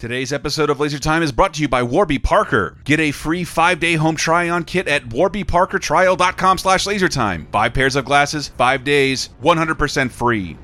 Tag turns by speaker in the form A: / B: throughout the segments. A: Today's episode of Laser Time is brought to you by Warby Parker. Get a free five-day home try-on kit at warbyparkertrial.com slash lasertime. Five pairs of glasses, five days, 100% free.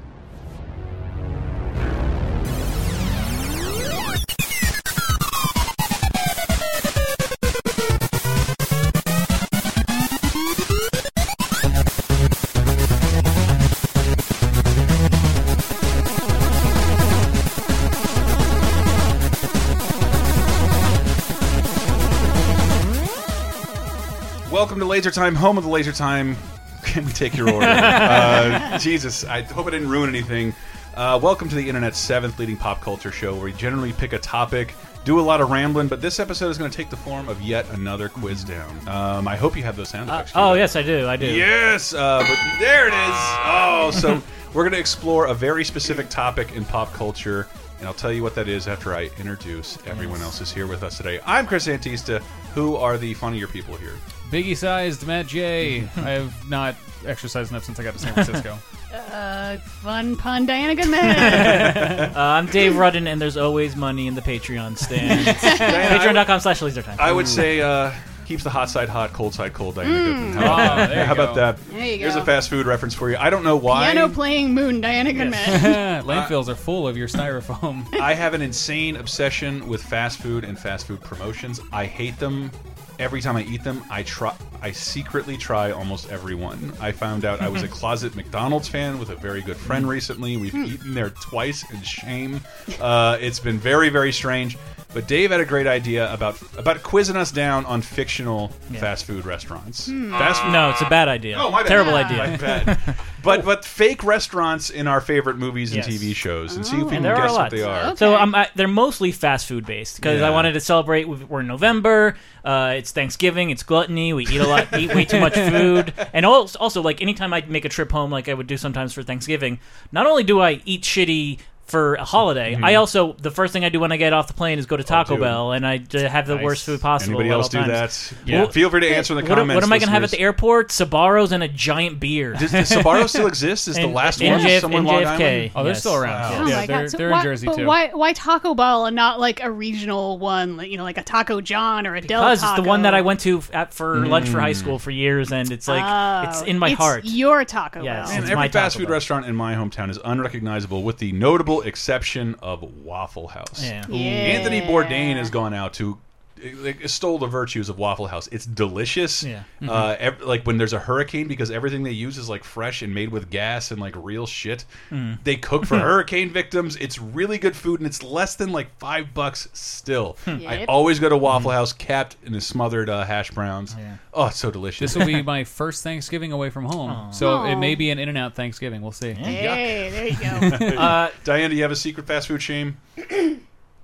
A: Welcome to Laser Time, home of the Laser Time. Can we take your order? uh, Jesus, I hope I didn't ruin anything. Uh, welcome to the internet's seventh leading pop culture show, where we generally pick a topic, do a lot of rambling, but this episode is going to take the form of yet another quiz down. Um, I hope you have those sound effects.
B: Oh yes, I do. I do.
A: Yes, uh, but there it is. Oh, so we're going to explore a very specific topic in pop culture, and I'll tell you what that is after I introduce everyone else who's here with us today. I'm Chris Antista. Who are the funnier people here?
C: Biggie sized Matt J. I have not exercised enough since I got to San Francisco.
D: Uh, fun pun, Diana Goodman.
B: Uh, I'm Dave Rudden, and there's always money in the Patreon stand.
A: Diana, I would-
B: Patreon.com/slash lasertime.
A: I would say uh, keeps the hot side hot, cold side cold. Diana Goodman. How about
C: Oh,
A: that?
C: there you
A: How about
C: go.
A: that?
D: Ah, There you
A: Here's
D: go.
A: a fast food reference for you. I don't know why.
D: Piano playing moon, Diana Goodman.
C: Landfills are full of your styrofoam.
A: I have an insane obsession with fast food and fast food promotions. I hate them. Every time I eat them, I try. I secretly try almost every one. I found out I was a closet McDonald's fan with a very good
B: Mm.
A: friend recently. We've eaten there twice in shame. Uh, it's been very, very strange. But Dave had a great idea about about quizzing us down on fictional fast food restaurants. Fast food
B: no, it's a bad idea.
A: Oh, my bad.
B: Hmm. Ah. Terrible
A: Yeah.
B: idea. Oh.
A: My bad. But but fake restaurants in our favorite movies and
B: Yes.
A: TV shows, and see if we can
B: And there are
A: guess
B: a
A: what
B: lot.
A: they are.
D: Okay.
B: So um, I, they're mostly fast food based because
A: Yeah.
B: I wanted to celebrate. we- We're in November. Uh, it's Thanksgiving. It's gluttony. We eat a lot, eat way too much food, and also, also like anytime I make a trip home, like I would do sometimes for Thanksgiving. Not only do I eat shitty for a holiday,
A: Mm-hmm.
B: I also the first thing I do when I get off the plane is go to Taco
A: dude.
B: Bell, and I j- have the
C: Nice.
B: worst food possible.
A: Anybody
B: at
A: else
B: all
A: do
B: times.
A: that?
C: Yeah.
A: Well, Feel free to answer in the
B: What, am-
A: comments.
B: what am I going to have at the
A: listeners.
B: airport? Sabaros and a giant beer.
A: Does, does Sbarro still exist? Is the
B: In-
A: last
B: in
A: one
B: JF
A: someone
B: in
A: Long
B: JFK.
A: Island?
C: Oh, they're
B: Yes.
C: still around.
A: Wow.
D: Oh
C: Yeah,
D: my
C: they're,
D: god! So
C: they're
D: why,
C: in Jersey
D: but
C: too.
D: why, why Taco Bell and not like a regional one, like you know, like a Taco John or a Del
B: Because it's
D: Taco?
B: the one that I went to f- at for
A: Mm.
B: lunch for high school for years, and it's like
D: Oh,
B: it's in my
D: it's
B: heart.
D: Your Taco
B: Yes.
A: Man,
B: It's
D: Bell.
A: every
B: my
A: fast
B: Taco
A: food
B: Bell.
A: restaurant in my hometown is unrecognizable, with the notable exception of Waffle House.
B: Yeah.
D: Yeah.
A: Anthony Bourdain has gone out to like, extol the virtues of Waffle House. It's delicious.
B: Yeah. Mm-hmm.
A: Uh, ev like when there's a hurricane, because everything they use is like fresh and made with gas and like real shit.
B: Mm.
A: They cook for hurricane victims. It's really good food, and it's less than like five bucks still.
B: Hmm.
A: I
D: Yep.
A: always
B: Mm-hmm.
A: go to Waffle House, capped in a smothered uh, hash browns. Oh, it's so delicious.
C: This will be my first Thanksgiving away from home, so it may be an in and out Thanksgiving. We'll see.
D: Hey, there you go.
B: Uh,
A: Diane, do you have a secret fast food shame?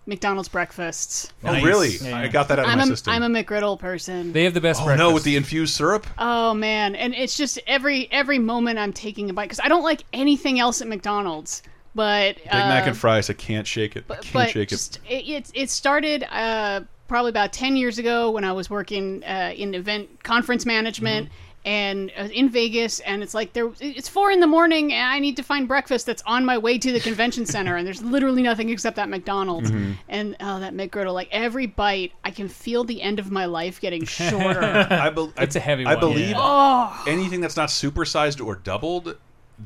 D: McDonald's breakfasts.
A: Oh, really?
B: Yeah.
A: I got that out of
D: I'm
A: my
D: a
A: system.
D: am a McGriddle person.
C: They have the best
A: oh
C: breakfast.
A: no, with the infused syrup.
D: Oh man, and it's just every every moment I'm taking a bite because I don't like anything else at McDonald's. But um,
A: Big Mac and fries. I can't shake it. I
D: but,
A: can't
D: but
A: shake it.
D: just, it. It, it started uh, probably about 10 years ago when I was working uh, in event
C: Mm-hmm.
D: conference management and uh, in Vegas. And it's like, there, it's four in the morning and I need to find breakfast that's on my way to the convention center. And there's literally nothing except that McDonald's.
C: Mm-hmm.
D: And oh, that McGriddle, like every bite, I can feel the end of my life getting shorter. Oh,
A: I bel
C: It's
A: I,
C: a heavy
A: I
C: one.
A: believe
C: Yeah.
A: anything that's not supersized or doubled,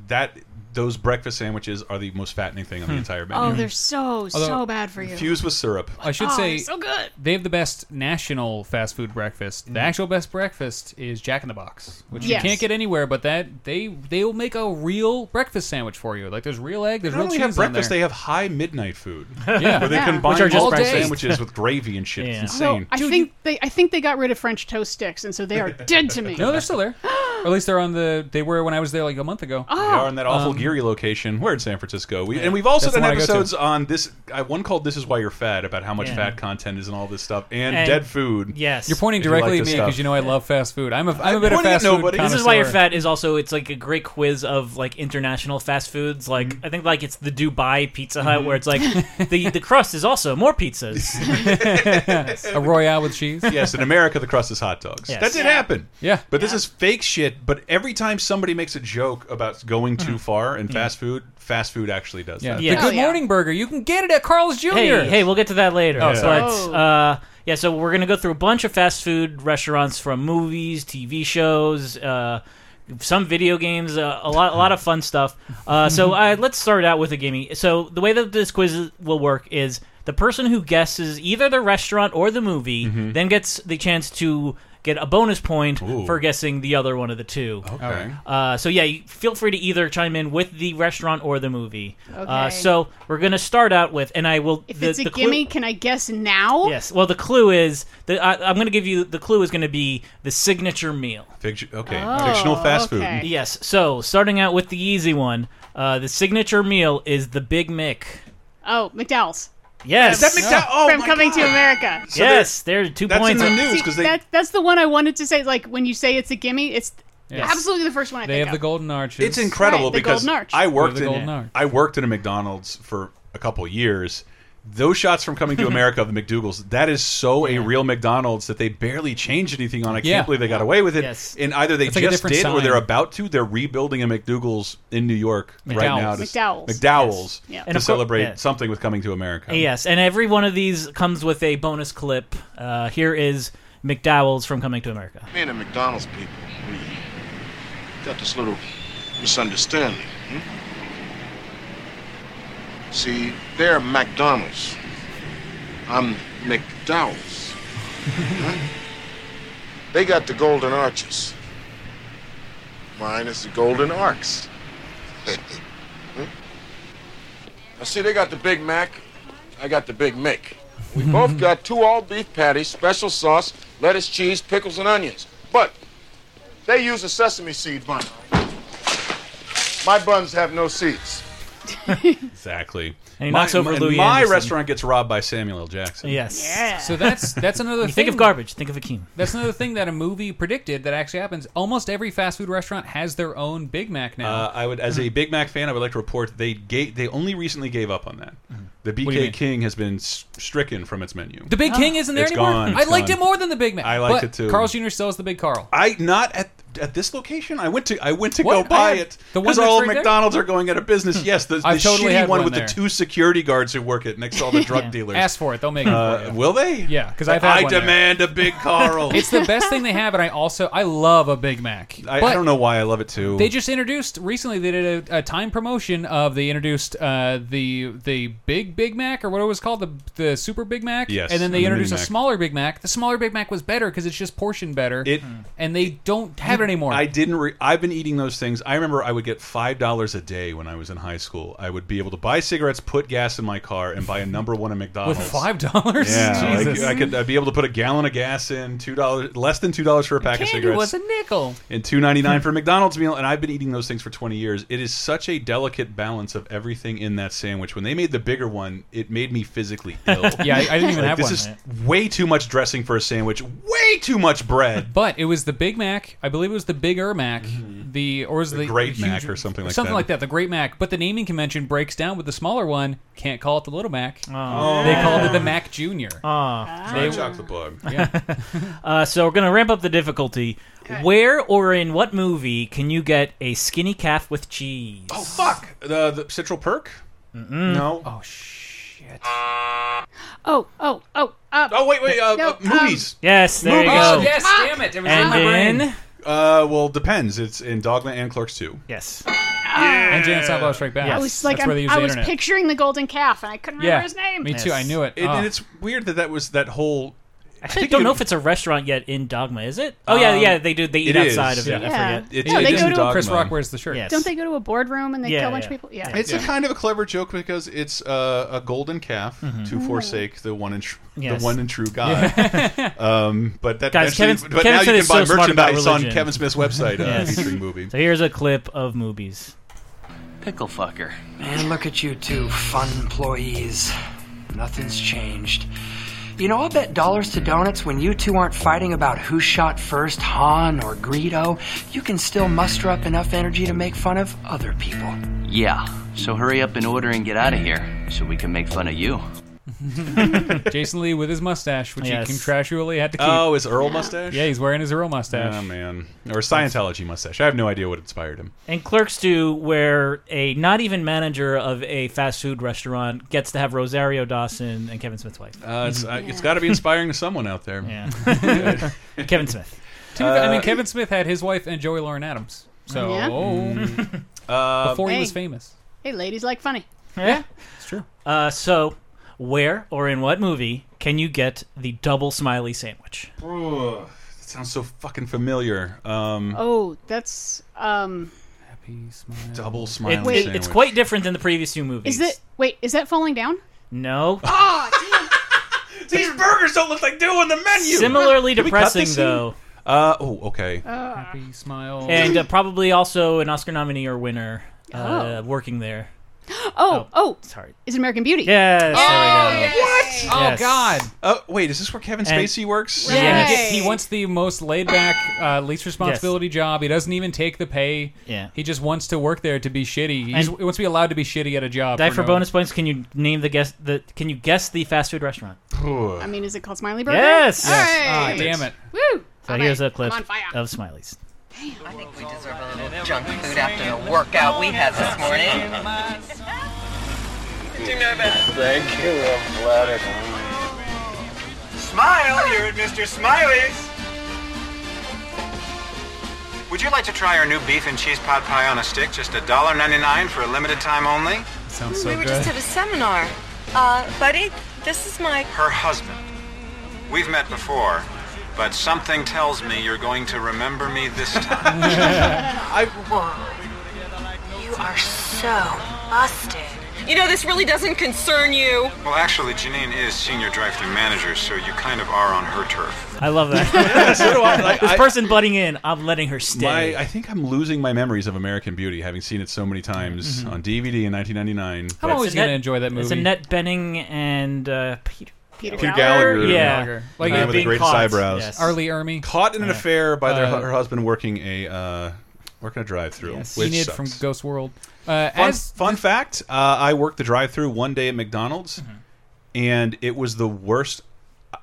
A: that those breakfast sandwiches are the most fattening thing
C: Hmm.
A: on the entire menu.
D: oh, they're so, so bad for you.
A: Infused with syrup.
C: I should
D: Oh,
C: say
D: they're so good.
C: they have the best national fast food breakfast.
A: Mm.
C: The actual best breakfast is Jack in the Box, which
D: Yes.
C: you can't get anywhere. But that they they will make a real breakfast sandwich for you. Like there's real egg, there's
A: They don't
C: real
A: only have
C: cheese
A: breakfast;
C: on
A: they have high midnight food.
C: there. yeah,
A: Where they
D: Yeah.
A: combine
C: Which are just
A: all
C: breakfast.
A: sandwiches with gravy and shit. It's
B: Yeah.
A: insane.
D: I think they I think they got rid of French toast sticks, and so they are dead to me.
C: No, they're still there. or at least they're on the. They were when I was there like a month ago.
A: We are in that awful Geary location. We're in San Francisco. We, and we've also
C: That's the
A: done
C: one I go to.
A: episodes on this. I, one called "This Is Why You're Fat" about how much
B: Yeah.
A: fat content is in all this stuff and,
B: And-
A: dead food.
B: yes,
C: You're pointing
A: If you like
C: directly
A: this
C: at me
A: stuff.
C: because you know I love fast food. I'm a I'm a bit of
A: pointing at
C: fast food.
A: nobody.
B: This is why you're
C: connoisseur.
B: fat is also it's like a great quiz of like international fast foods. Like
A: Mm.
B: I think like it's the Dubai Pizza Hut
A: Mm-hmm.
B: where it's like the the crust is also more pizzas.
C: A royale with cheese.
A: yes, in America, the crust is hot dogs.
B: Yes.
A: That did happen.
C: Yeah.
A: But this is fake shit. But every time somebody makes a joke about going too far, are in fast food, fast food actually does
C: Yeah.
A: that.
B: Yeah.
C: The
D: Oh,
C: Good
D: yeah.
C: Morning Burger. You can get it at Carl's Jr.
B: Hey, hey, we'll get to that later.
C: Oh,
A: sorry.
B: But
D: Oh.
B: uh, yeah, so we're gonna go through a bunch of fast food restaurants from movies, TV shows, uh, some video games, uh, a lot, a lot of fun stuff. Uh, so uh, let's start out with a gimme. So the way that this quiz will work is the person who guesses either the restaurant or the movie then gets the chance to get a bonus point
A: Mm-hmm. Ooh.
B: for guessing the other one of the two.
A: Okay.
B: Uh, so yeah, you feel free to either chime in with the restaurant or the movie. Uh,
D: Okay.
B: so we're gonna start out with, and I will.
D: If
B: the,
D: it's a
B: the clue-
D: gimme, can I guess now?
B: Yes. Well, the clue is the I, I'm going to give you the clue is going to be the signature meal.
A: Fict- okay.
D: Oh,
A: Fictional fast
D: okay.
A: food.
B: Yes. So starting out with the easy one, uh, the signature meal is the Big Mick.
D: Oh, McDowell's.
B: Yes.
A: Is that McDowell? Oh,
D: from
A: my
D: Coming
A: God.
D: to America.
A: So
B: yes. There's two
A: that's in
B: points.
A: the
B: on-
A: news
D: See,
A: 'cause they-
D: that, that's the one I wanted to say. Like when you say it's a gimme, it's
C: Yes.
D: absolutely the first one I
C: They
D: think
C: have the
D: of.
C: golden arches.
A: It's incredible
D: Right, the
A: because
D: Golden Arch.
A: I worked
C: Or the Golden
A: in
C: Arch.
A: I worked in a McDonald's for a couple years. Those shots from Coming to America of the McDougal's, that is so a real McDonald's that they barely changed anything on. I can't
C: Yeah.
A: believe they got away with it.
B: Yes.
A: And either they
C: It's like a
A: just
C: different
A: did or
C: sign.
A: they're about to. They're rebuilding a McDougal's in New York right now. To,
D: McDowell's.
A: McDowell's
D: Yes. Yeah.
A: to
B: And of cour-
A: celebrate
B: yeah.
A: something with Coming to America.
B: Yes. And every one of these comes with a bonus clip. Uh, here is McDowell's from Coming to America.
E: Me and the McDonald's people, we got this little misunderstanding. Hmm? See, they're McDonald's. I'm McDowell's. Huh? They got the golden arches. Mine is the golden arcs. Hmm? Now, see, they got the Big Mac. I got the Big Mick. We both got two all beef patties, special sauce, lettuce, cheese, pickles, and onions. But they use a sesame seed bun. My buns have no seeds.
A: Exactly.
B: And he
A: my
B: knocks over
A: my-
B: Louis
A: my
B: Anderson.
A: restaurant gets robbed by Samuel L. Jackson.
B: Yes.
D: Yeah.
C: So that's that's another
B: You
C: thing.
B: think of garbage. Think of Akeem.
C: That's another thing that a movie predicted that actually happens. Almost every fast food restaurant has their own Big Mac now.
A: Uh, I would, as
C: Mm-hmm.
A: a Big Mac fan, I would like to report they gave, they only recently gave up on that. The
C: Mm-hmm. you
A: BK
C: mean?
A: King has been s- stricken from its menu.
C: the Big King isn't there
A: It's
C: anymore.
A: gone,
C: I
A: it's
C: liked
A: gone.
C: it more than the Big Mac.
A: I liked
C: but
A: it too.
C: Carl's Jr. still has the Big Carl.
A: I not at at this location. I went to I went to
C: What?
A: go
C: I
A: buy
C: had-
A: it
C: the one
A: because all
C: that's right Hmm.
A: McDonald's are going out of business. Yes, the, the
C: I've totally
A: shitty
C: had
A: one
C: one
A: with
C: there.
A: the two security guards who work it next to all the drug dealers.
C: Ask for it; they'll make it.
A: Uh,
C: for you.
A: will they?
C: Yeah, 'cause
A: Like,
C: I've had
A: I
C: one there.
A: demand a big Carl.
C: It's the best thing they have, and I also I love a Big Mac.
A: I,
C: But
A: I don't know why I love it too.
C: They just introduced recently. They did a, a time promotion of they introduced uh, the the big Big Mac or what it was called the the Super Big Mac.
A: Yes,
C: And then
A: and
C: they
A: the
C: introduced a
A: Mini Mac.
C: smaller Big Mac. The smaller Big Mac was better because it's just portioned better.
A: It-
C: and they don't have it anymore.
A: I didn't. Re I've been eating those things. I remember I would get five dollars a day when I was in high school. I would be able to buy cigarettes, put gas in my car, and buy a number one at McDonald's
C: with five dollars.
A: Yeah, like,
C: Jesus.
A: I could I'd be able to put a gallon of gas in two dollars, less than two dollars for a pack of
C: Candy
A: cigarettes,
C: was a nickel.
A: and two ninety nine for a McDonald's meal. And I've been eating those things for twenty years. It is such a delicate balance of everything in that sandwich. When they made the bigger one, it made me physically ill.
C: Yeah, I, I didn't even have
A: Like, this
C: one.
A: is way too much dressing for a sandwich. Way too much bread.
C: But it was the Big Mac. I believe it was the Bigger Mac. The or was the,
A: Mm-hmm. Great
C: huge-
A: Mac or something like
C: something
A: that.
C: like that. The Great Mac. But the naming convention breaks down with the smaller one. Can't call it the Little Mac.
B: Oh.
C: They called
A: Oh.
C: it the Mac Junior.
A: Try chocolate bug.
B: Uh, so we're gonna ramp up the difficulty. Where or in what movie can you get a skinny calf with cheese?
A: Oh fuck! The, the Central Perk. No.
C: oh shit.
D: Oh, oh, oh. Uh,
A: Oh wait, wait. Uh,
D: No,
A: uh, movies.
B: Yes, there you
A: Movies.
B: go.
A: Oh,
C: yes, damn it. It was in my brain.
B: And in
A: Uh, well, depends. It's in Dogma and Clerks too.
B: yes,
C: And Janet Sidebottom Strike Back.
B: Yes.
D: I was like,
C: That's where they
D: I'm-
C: use
D: I
C: the
D: was
C: internet.
D: picturing the golden calf, and I couldn't remember
C: yeah.
D: his name.
C: Me too. I knew it.
A: It,
C: Ah.
A: And it's weird that that was that whole.
B: actually I
A: think it-
B: don't
A: Um,
B: know if it's a restaurant yet in Dogma, is it? Oh yeah, yeah, they do. They eat
A: it is.
B: outside of it. I
D: Yeah.
B: forget.
A: It's,
D: No,
A: it's
D: they
A: in
D: go to
A: Dogma.
C: Chris Rock wears the shirt.
B: Yes.
D: Don't they go to a boardroom and they
B: Yeah,
D: kill a bunch
B: yeah.
D: of people? Yeah.
A: It's a kind of a clever joke because it's uh, a golden calf to forsake the one and tr
B: Mm-hmm. Yes.
A: the one and true God. um, but that
B: Guys,
A: eventually-
B: Kevin-
A: but
B: Kevin
A: now
B: Smith
A: you
B: is
A: can buy
B: so smart about
A: merchandise on
B: religion.
A: Kevin Smith's website uh,
B: Yes.
A: featuring movie.
B: So here's a clip of movies.
F: Pickle fucker. Man, look at you two fun employees. Nothing's changed. You know, I'll bet dollars to donuts when you two aren't fighting about who shot first, Han or Greedo, you can still muster up enough energy to make fun of other people.
G: Yeah, so hurry up and order and get out of here so we can make fun of you.
C: Jason Lee with his mustache, which
B: Yes.
C: he contractually had to keep.
A: Oh, is Earl mustache?
C: Yeah, he's wearing his real mustache.
A: Oh man, or Scientology mustache. I have no idea what inspired him.
B: And clerks do where a not even manager of a fast food restaurant gets to have Rosario Dawson and Kevin Smith's wife.
A: Uh, it's uh, it's got to be inspiring to someone out there.
B: Mm-hmm. Yeah, Kevin Smith.
C: To be fair, I mean, Kevin Smith had his wife and Joey Lauren Adams. So oh.
D: Yeah.
A: Uh,
C: before he was
D: Hey.
C: famous,
D: Hey, ladies like funny.
B: Yeah.
C: it's true.
B: Uh, so, where or in what movie can you get the double smiley sandwich?
A: oh, that sounds so fucking familiar. Um,
D: Oh, that's um.
C: Happy smile.
A: double smiling.
B: It-
A: sandwich.
B: it's quite different than the previous two movies.
D: Is that wait? Is that falling down?
B: no?
A: These burgers don't look like doing the menu.
B: Similarly
A: Can we cut
B: depressing
A: this scene?
B: though,
A: Uh oh, okay.
C: Happy smile.
B: and uh, probably also an Oscar nominee or winner. Uh, Working there.
D: Oh, oh,
B: Sorry.
D: is it American Beauty?
B: Yes.
D: Oh!
B: there we go.
A: what?
C: oh
B: Yes.
C: God!
A: Oh wait, is this where Kevin
B: And-
A: Spacey works?
D: Yeah.
C: And
B: Yes.
C: he get- He wants the most laid back, uh, least responsibility job. He doesn't even take the pay.
B: Yeah.
C: He just wants to work there to be shitty. He just-
B: And-
C: he wants to be allowed to be shitty at a job.
B: Die for
C: no-
B: bonus points. Can you name the guess? The can you guess the fast food restaurant?
A: Ugh.
D: I mean, is it called Smiley Burger?
B: Yes.
D: All
B: Yes.
C: Ah,
D: right.
C: damn it!
D: Woo.
B: So
D: All
B: here's
D: right,
B: a clip
D: I'm on fire.
B: of Smileys.
G: I think we deserve a little junk food after the workout we had this morning.
E: Thank you. I'm glad it
H: Smile, you're at Mr. Smiley's. Would you like to try our new beef and cheese pot pie on a stick? Just $1.99 for a limited time only?
C: Sounds
I: we
C: so
I: were
C: good.
I: just at a seminar. Uh, buddy, this is my.
H: Her husband. We've met before, but something tells me you're going to remember me this time.
I: Whoa. You are so busted. You know, this really doesn't concern you.
H: well, actually, Janine is senior drive-thru manager, so you kind of are on her turf.
B: I love that.
A: so do I. Like,
B: this
A: I-
B: person butting in, I'm letting her stay.
A: My, I think I'm losing my memories of American Beauty, having seen it so many times
B: Mm-hmm.
A: on DVD in 1999.
C: I'm
A: but-
C: always
B: Annette-
C: gonna enjoy that movie.
B: It's Annette Benning and uh, Peter.
D: Peter,
A: Peter
D: Gallagher.
A: Gallagher.
B: Yeah.
C: Gallagher. Like
A: Man
C: uh,
A: with the
B: being
A: greatest
B: caught.
A: eyebrows.
B: Yes.
C: Arlie Ermy.
A: Caught in an affair by their,
C: Uh,
A: her husband working a uh, working a drive-through,
B: Yes.
A: which
C: Enid
A: sucks.
C: from Ghost World. Uh,
A: Fun,
C: as
A: fun fact: uh, I worked the drive-through one day at McDonald's, and it was the worst.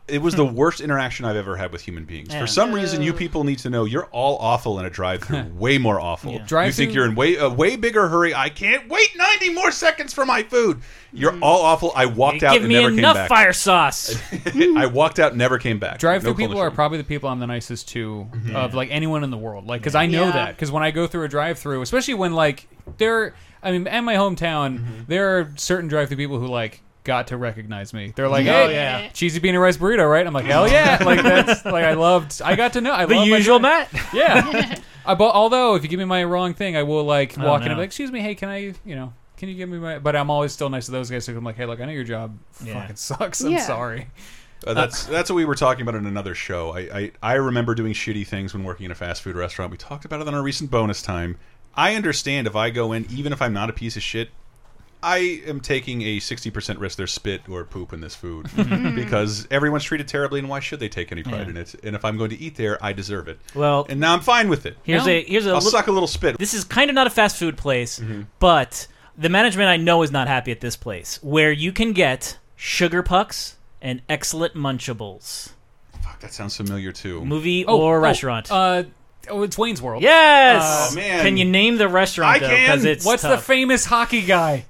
A: It was the worst interaction I've ever had with human beings.
B: Yeah.
A: For some reason, you people need to know you're all awful in a drive-through. way more awful. You
C: Drive-thru-
A: think you're in way a way bigger hurry. I can't wait 90 more seconds for my food. You're all awful. I walked out
B: Give
A: and
B: me
A: never
B: enough
A: came back.
B: fire sauce.
A: I walked out, and never came back.
C: Drive-through
A: No
C: people
A: call
C: are
A: to
C: probably the people I'm the nicest to
B: Mm-hmm.
C: of like anyone in the world. Like, because I know
D: Yeah.
C: that. Because when I go through a drive-through, especially when like there, I mean, in my hometown,
B: Mm-hmm.
C: there are certain drive-through people who like got to recognize me. They're like,
D: Yeah.
C: oh yeah, cheesy bean and rice burrito, right? I'm like, hell yeah! like that's like I loved. I got to know. I
B: the
C: love my
B: usual
C: drive-
B: Matt.
C: Yeah. I, but although if you give me my wrong thing, I will like walk in
B: Oh, no.
C: and be like, excuse me, hey, can I, you know. Can you give me my? But I'm always still nice to those guys. So I'm like, hey, look, I know your job
B: Yeah.
C: fucking sucks. I'm
D: Yeah.
C: sorry.
A: Uh, that's that's what we were talking about in another show. I, I I remember doing shitty things when working in a fast food restaurant. We talked about it on our recent bonus time. I understand if I go in, even if I'm not a piece of shit, I am taking a sixty percent risk there's spit or poop in this food because everyone's treated terribly, and why should they take any pride
B: Mm-hmm. Yeah.
A: in it? And if I'm going to eat there, I deserve it.
B: Well-
A: and now I'm fine with it. Mm-hmm.
B: Here's
C: No.
B: a here's a
A: I'll
B: little-
A: suck a little spit.
B: this is kind of not a fast food place, but the management I know is not happy at this place where you can get sugar pucks and excellent munchables.
A: Fuck, that sounds familiar too.
B: Movie
C: Oh,
B: or
C: oh,
B: restaurant.
C: Uh, oh, it's Wayne's World.
B: yes.
A: Oh, man.
B: Can you name the restaurant
A: I
B: though?
A: can.
B: Because it's
C: What's the
B: tough.
C: famous hockey guy?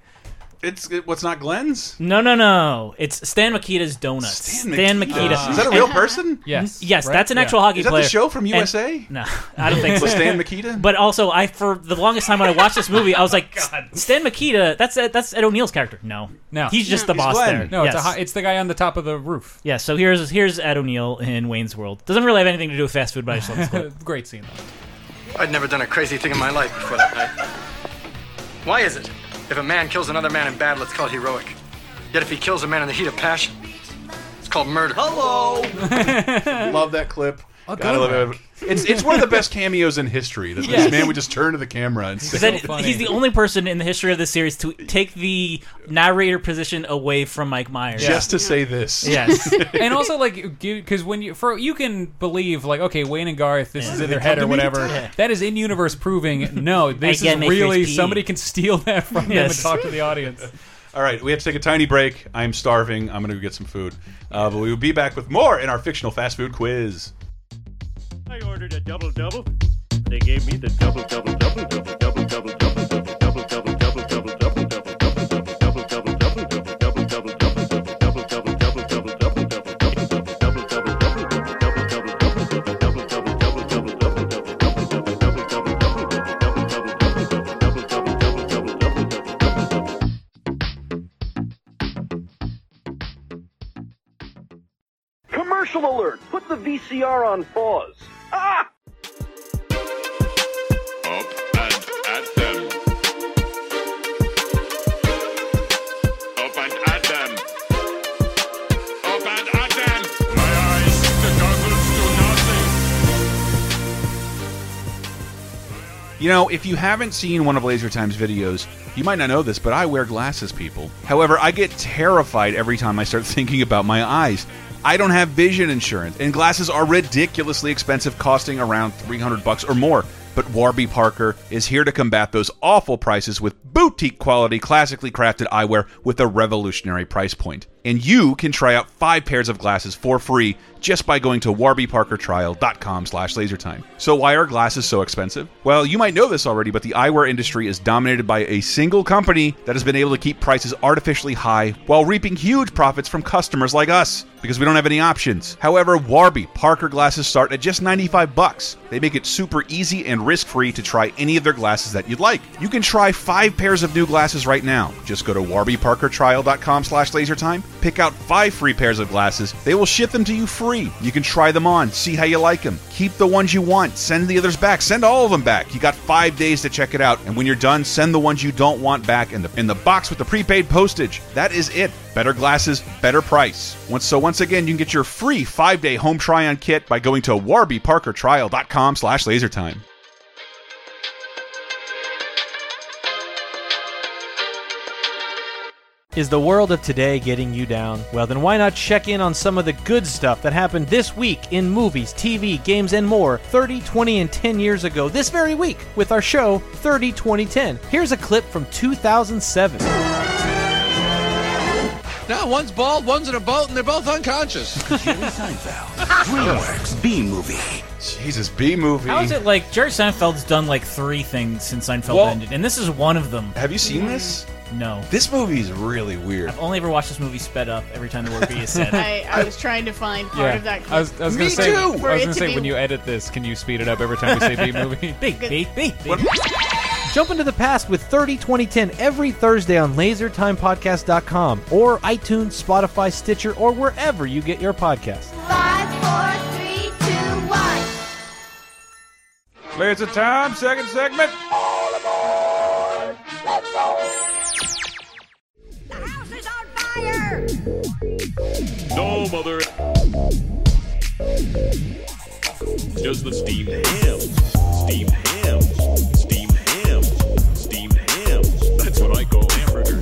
A: It's it, what's not Glenn's.
B: no no no. It's Stan Makita's Donuts. Stan Makita.
A: Is that a real person?
C: Hmm? Yes.
B: Yes,
C: right?
B: that's an
C: Yeah.
B: actual hockey
A: Is that
B: player.
A: the show from
B: And-
A: USA?
B: no, I don't think so.
A: With Stan Makita?
B: But also, I for the longest time when I watched this movie, I
C: Oh,
B: was like, Stan Makita. That's that's Ed O'Neill's character. No,
C: No.
B: he's just the
A: He's
B: boss
A: Glenn.
B: there.
C: No,
B: yes.
C: it's a ho- it's the guy on the top of the roof.
B: Yeah, so here's here's Ed O'Neill in Wayne's World. Doesn't really have anything to do with fast food, but I just love this clip.
C: Great scene. Though.
J: I'd never done a crazy thing in my life before that night. Why is it? If a man kills another man in battle, it's called heroic. Yet if he kills a man in the heat of passion, it's called murder.
A: love that clip. Gotta
C: go
A: love it. It's it's one of the best cameos in history. That this man would just turn to the camera and say,
B: Then
C: funny.
B: he's the only person in the history of this series to take the narrator position away from Mike Myers.
A: just to say this.
B: Yes.
C: and also like because when you for you can believe like okay Wayne and Garth this is in their head or whatever that is in universe proving no this is
B: get my
C: really
B: crispy.
C: somebody can steal that from them and
B: Yes.
C: talk to the audience.
A: All right, we have to take a tiny break. I'm starving. I'm going to go get some food. Uh, but we will be back with more in our fictional fast food quiz.
K: I ordered a double double. They gave me the double double double double double double double double double double double double double double double double double double double double double double double double double double double double double double double double double double double double double double
L: Commercial alert! Put the VCR on pause. Ah!
K: Up and at them. Up and at them. Up and at them. My eyes, the goggles do nothing.
A: You know, if you haven't seen one of Laser Time's videos, you might not know this, but I wear glasses, people. However, I get terrified every time I start thinking about my eyes. I don't have vision insurance, and glasses are ridiculously expensive, costing around 300 bucks or more. But Warby Parker is here to combat those awful prices with boutique quality, classically crafted eyewear with a revolutionary price point. And you can try out five pairs of glasses for free just by going to warbyparkertrial.com slash lasertime. So why are glasses so expensive? Well, you might know this already, but the eyewear industry is dominated by a single company that has been able to keep prices artificially high while reaping huge profits from customers like us because we don't have any options. However, Warby Parker glasses start at just 95 bucks. They make it super easy and risk-free to try any of their glasses that you'd like. You can try 5 pairs of new glasses right now. Just go to warbyparkertrial.com/lasertime, pick out 5 free pairs of glasses. They will ship them to you free. You can try them on, see how you like them. Keep the ones you want, send the others back, send all of them back. You got 5 days to check it out, and when you're done, send the ones you don't want back in the in the box with the prepaid postage. That is it. Better glasses, better price. Once so once again, you can get your free 5-day home try-on kit by going to warbyparkertrial.com/lasertime. slash lasertime.
M: Is the world of today getting you down? Well, then why not check in on some of the good stuff that happened this week in movies, TV, games, and more 30, 20, and 10 years ago this very week with our show 30, 20, 10. Here's a clip from 2007.
N: Now one's bald, one's in a boat, and they're both unconscious. Jerry Seinfeld, DreamWorks B movie.
A: Jesus, B movie.
B: How is it like Jerry Seinfeld's done like three things since Seinfeld
A: Well-
B: ended, and this is one of them.
A: Have you seen this?
B: No.
A: This movie is really weird.
B: I've only ever watched this movie sped up every time the word B is said.
D: I, I was trying to find part of that. Clip.
C: I was, I was gonna say, I was
D: For it
C: gonna
D: to
C: say
D: be-
C: when you edit this, can you speed it up every time we say B movie?
B: Big B, B, B.
M: Jump into the past with 30 2010 every Thursday on lasertimepodcast.com or iTunes, Spotify, Stitcher, or wherever you get your podcasts.
A: Laser time, second segment.
D: Oh
K: No, mother. Just the steamed ham. Steamed ham. Steamed ham. Steamed ham. That's what I call hamburger.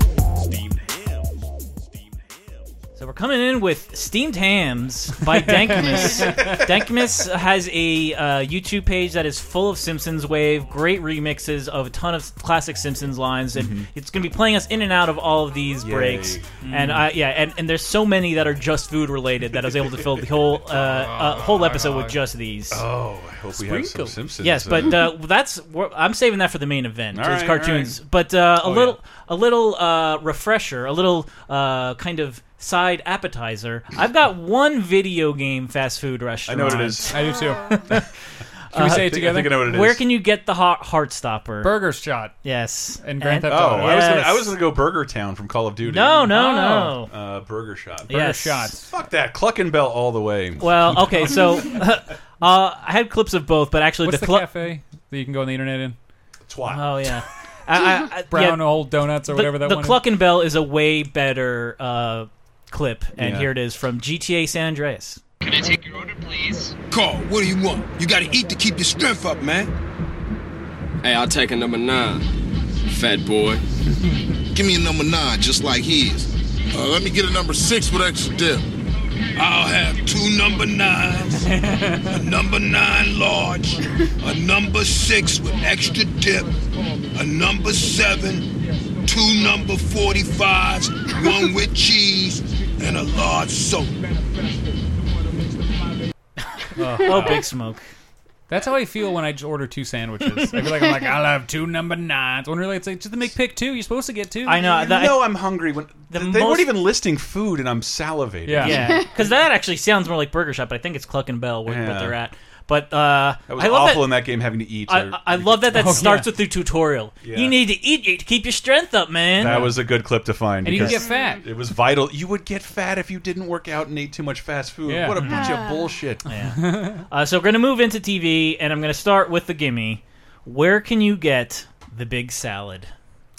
B: So we're coming in with Steamed Hams by Dankmas. Dankmas has a uh, YouTube page that is full of Simpsons Wave, great remixes of a ton of classic Simpsons lines, and
M: Mm-hmm.
O: Mhm.
B: it's going to be playing us in and out of all of these
O: Yay.
B: breaks. And
O: Mm.
B: I, yeah, and, and there's so many that are just food related that I was able to fill the whole uh, uh, whole episode with just these.
A: Oh, I hope we have some Simpsons.
B: Yes, but
A: in-
B: uh, that's we're- I'm saving that for the main event.
A: All
B: those
A: right, all
B: cartoons,
A: right.
B: but uh, a
A: Oh,
B: little a little uh, refresher, a little uh, kind of side appetizer. I've got one video game fast food restaurant.
A: know what it is. I do too.
C: Can we say it I think- I together? think I know what it
B: Where
C: is.
B: can you get the heart Heartstopper?
C: Burger Shot.
B: Yes.
C: And Grand Theft
A: Oh,
C: Auto.
A: I was gonna, I
B: Yes.
A: was gonna go Burger Town from Call of Duty.
B: No, no, no.
A: Uh, Burger Shot.
B: Burger Yes. Shots.
A: Fuck that. Cluck and Bell all the way.
B: Well, okay, so uh, I had clips of both, but actually
C: What's
B: the
C: the
B: clu-
C: cafe that you can go on the internet in?
A: Twat.
B: Oh yeah. I- I- I-
C: Brown
B: yeah.
C: old donuts or
B: the,
C: whatever that
B: the
C: one is.
B: Cluck and Bell is a way better uh, clip, and
C: Yeah.
B: here it is from GTA San Andreas.
P: Can I take your order, please? Carl, what do you want? You gotta eat to keep your strength up, man.
Q: Hey, I'll take a number nine, fat boy.
E: Give me a number nine, just like his. Uh, let me get a number six with extra dip.
K: I'll have two number nines, a number nine large, a number six with extra dip, a number seven,
P: two number 45s, one with cheese, and a large soda.
B: Oh, big smoke.
C: That's how I feel when I just order two sandwiches. I feel like I'm like I'll have two number nines. When really it's like just to make pick two. You're supposed to get two.
B: Uh,
A: You know I'm hungry when they weren't even listing food, and I'm salivating.
B: yeah, because that actually sounds more like Burger Shop. But I think it's Cluck and Bell where,
A: Yeah.
B: what they're at. But uh,
A: That was
B: I love
A: awful
B: that-
A: in that game having to eat.
B: I,
A: or-
B: I- I love that that
A: Oh, yeah.
B: starts with the tutorial.
A: Yeah.
B: You need to eat to keep your strength up, man.
A: that was a good clip to find.
B: And you can
A: because
B: get fat.
A: It was vital. You would get fat if you didn't work out and ate too much fast food.
B: Yeah.
A: What a bunch
B: Yeah.
A: of bullshit.
B: Yeah. uh, so we're gonna move into TV, and I'm gonna start with the gimme. Where can you get the big salad?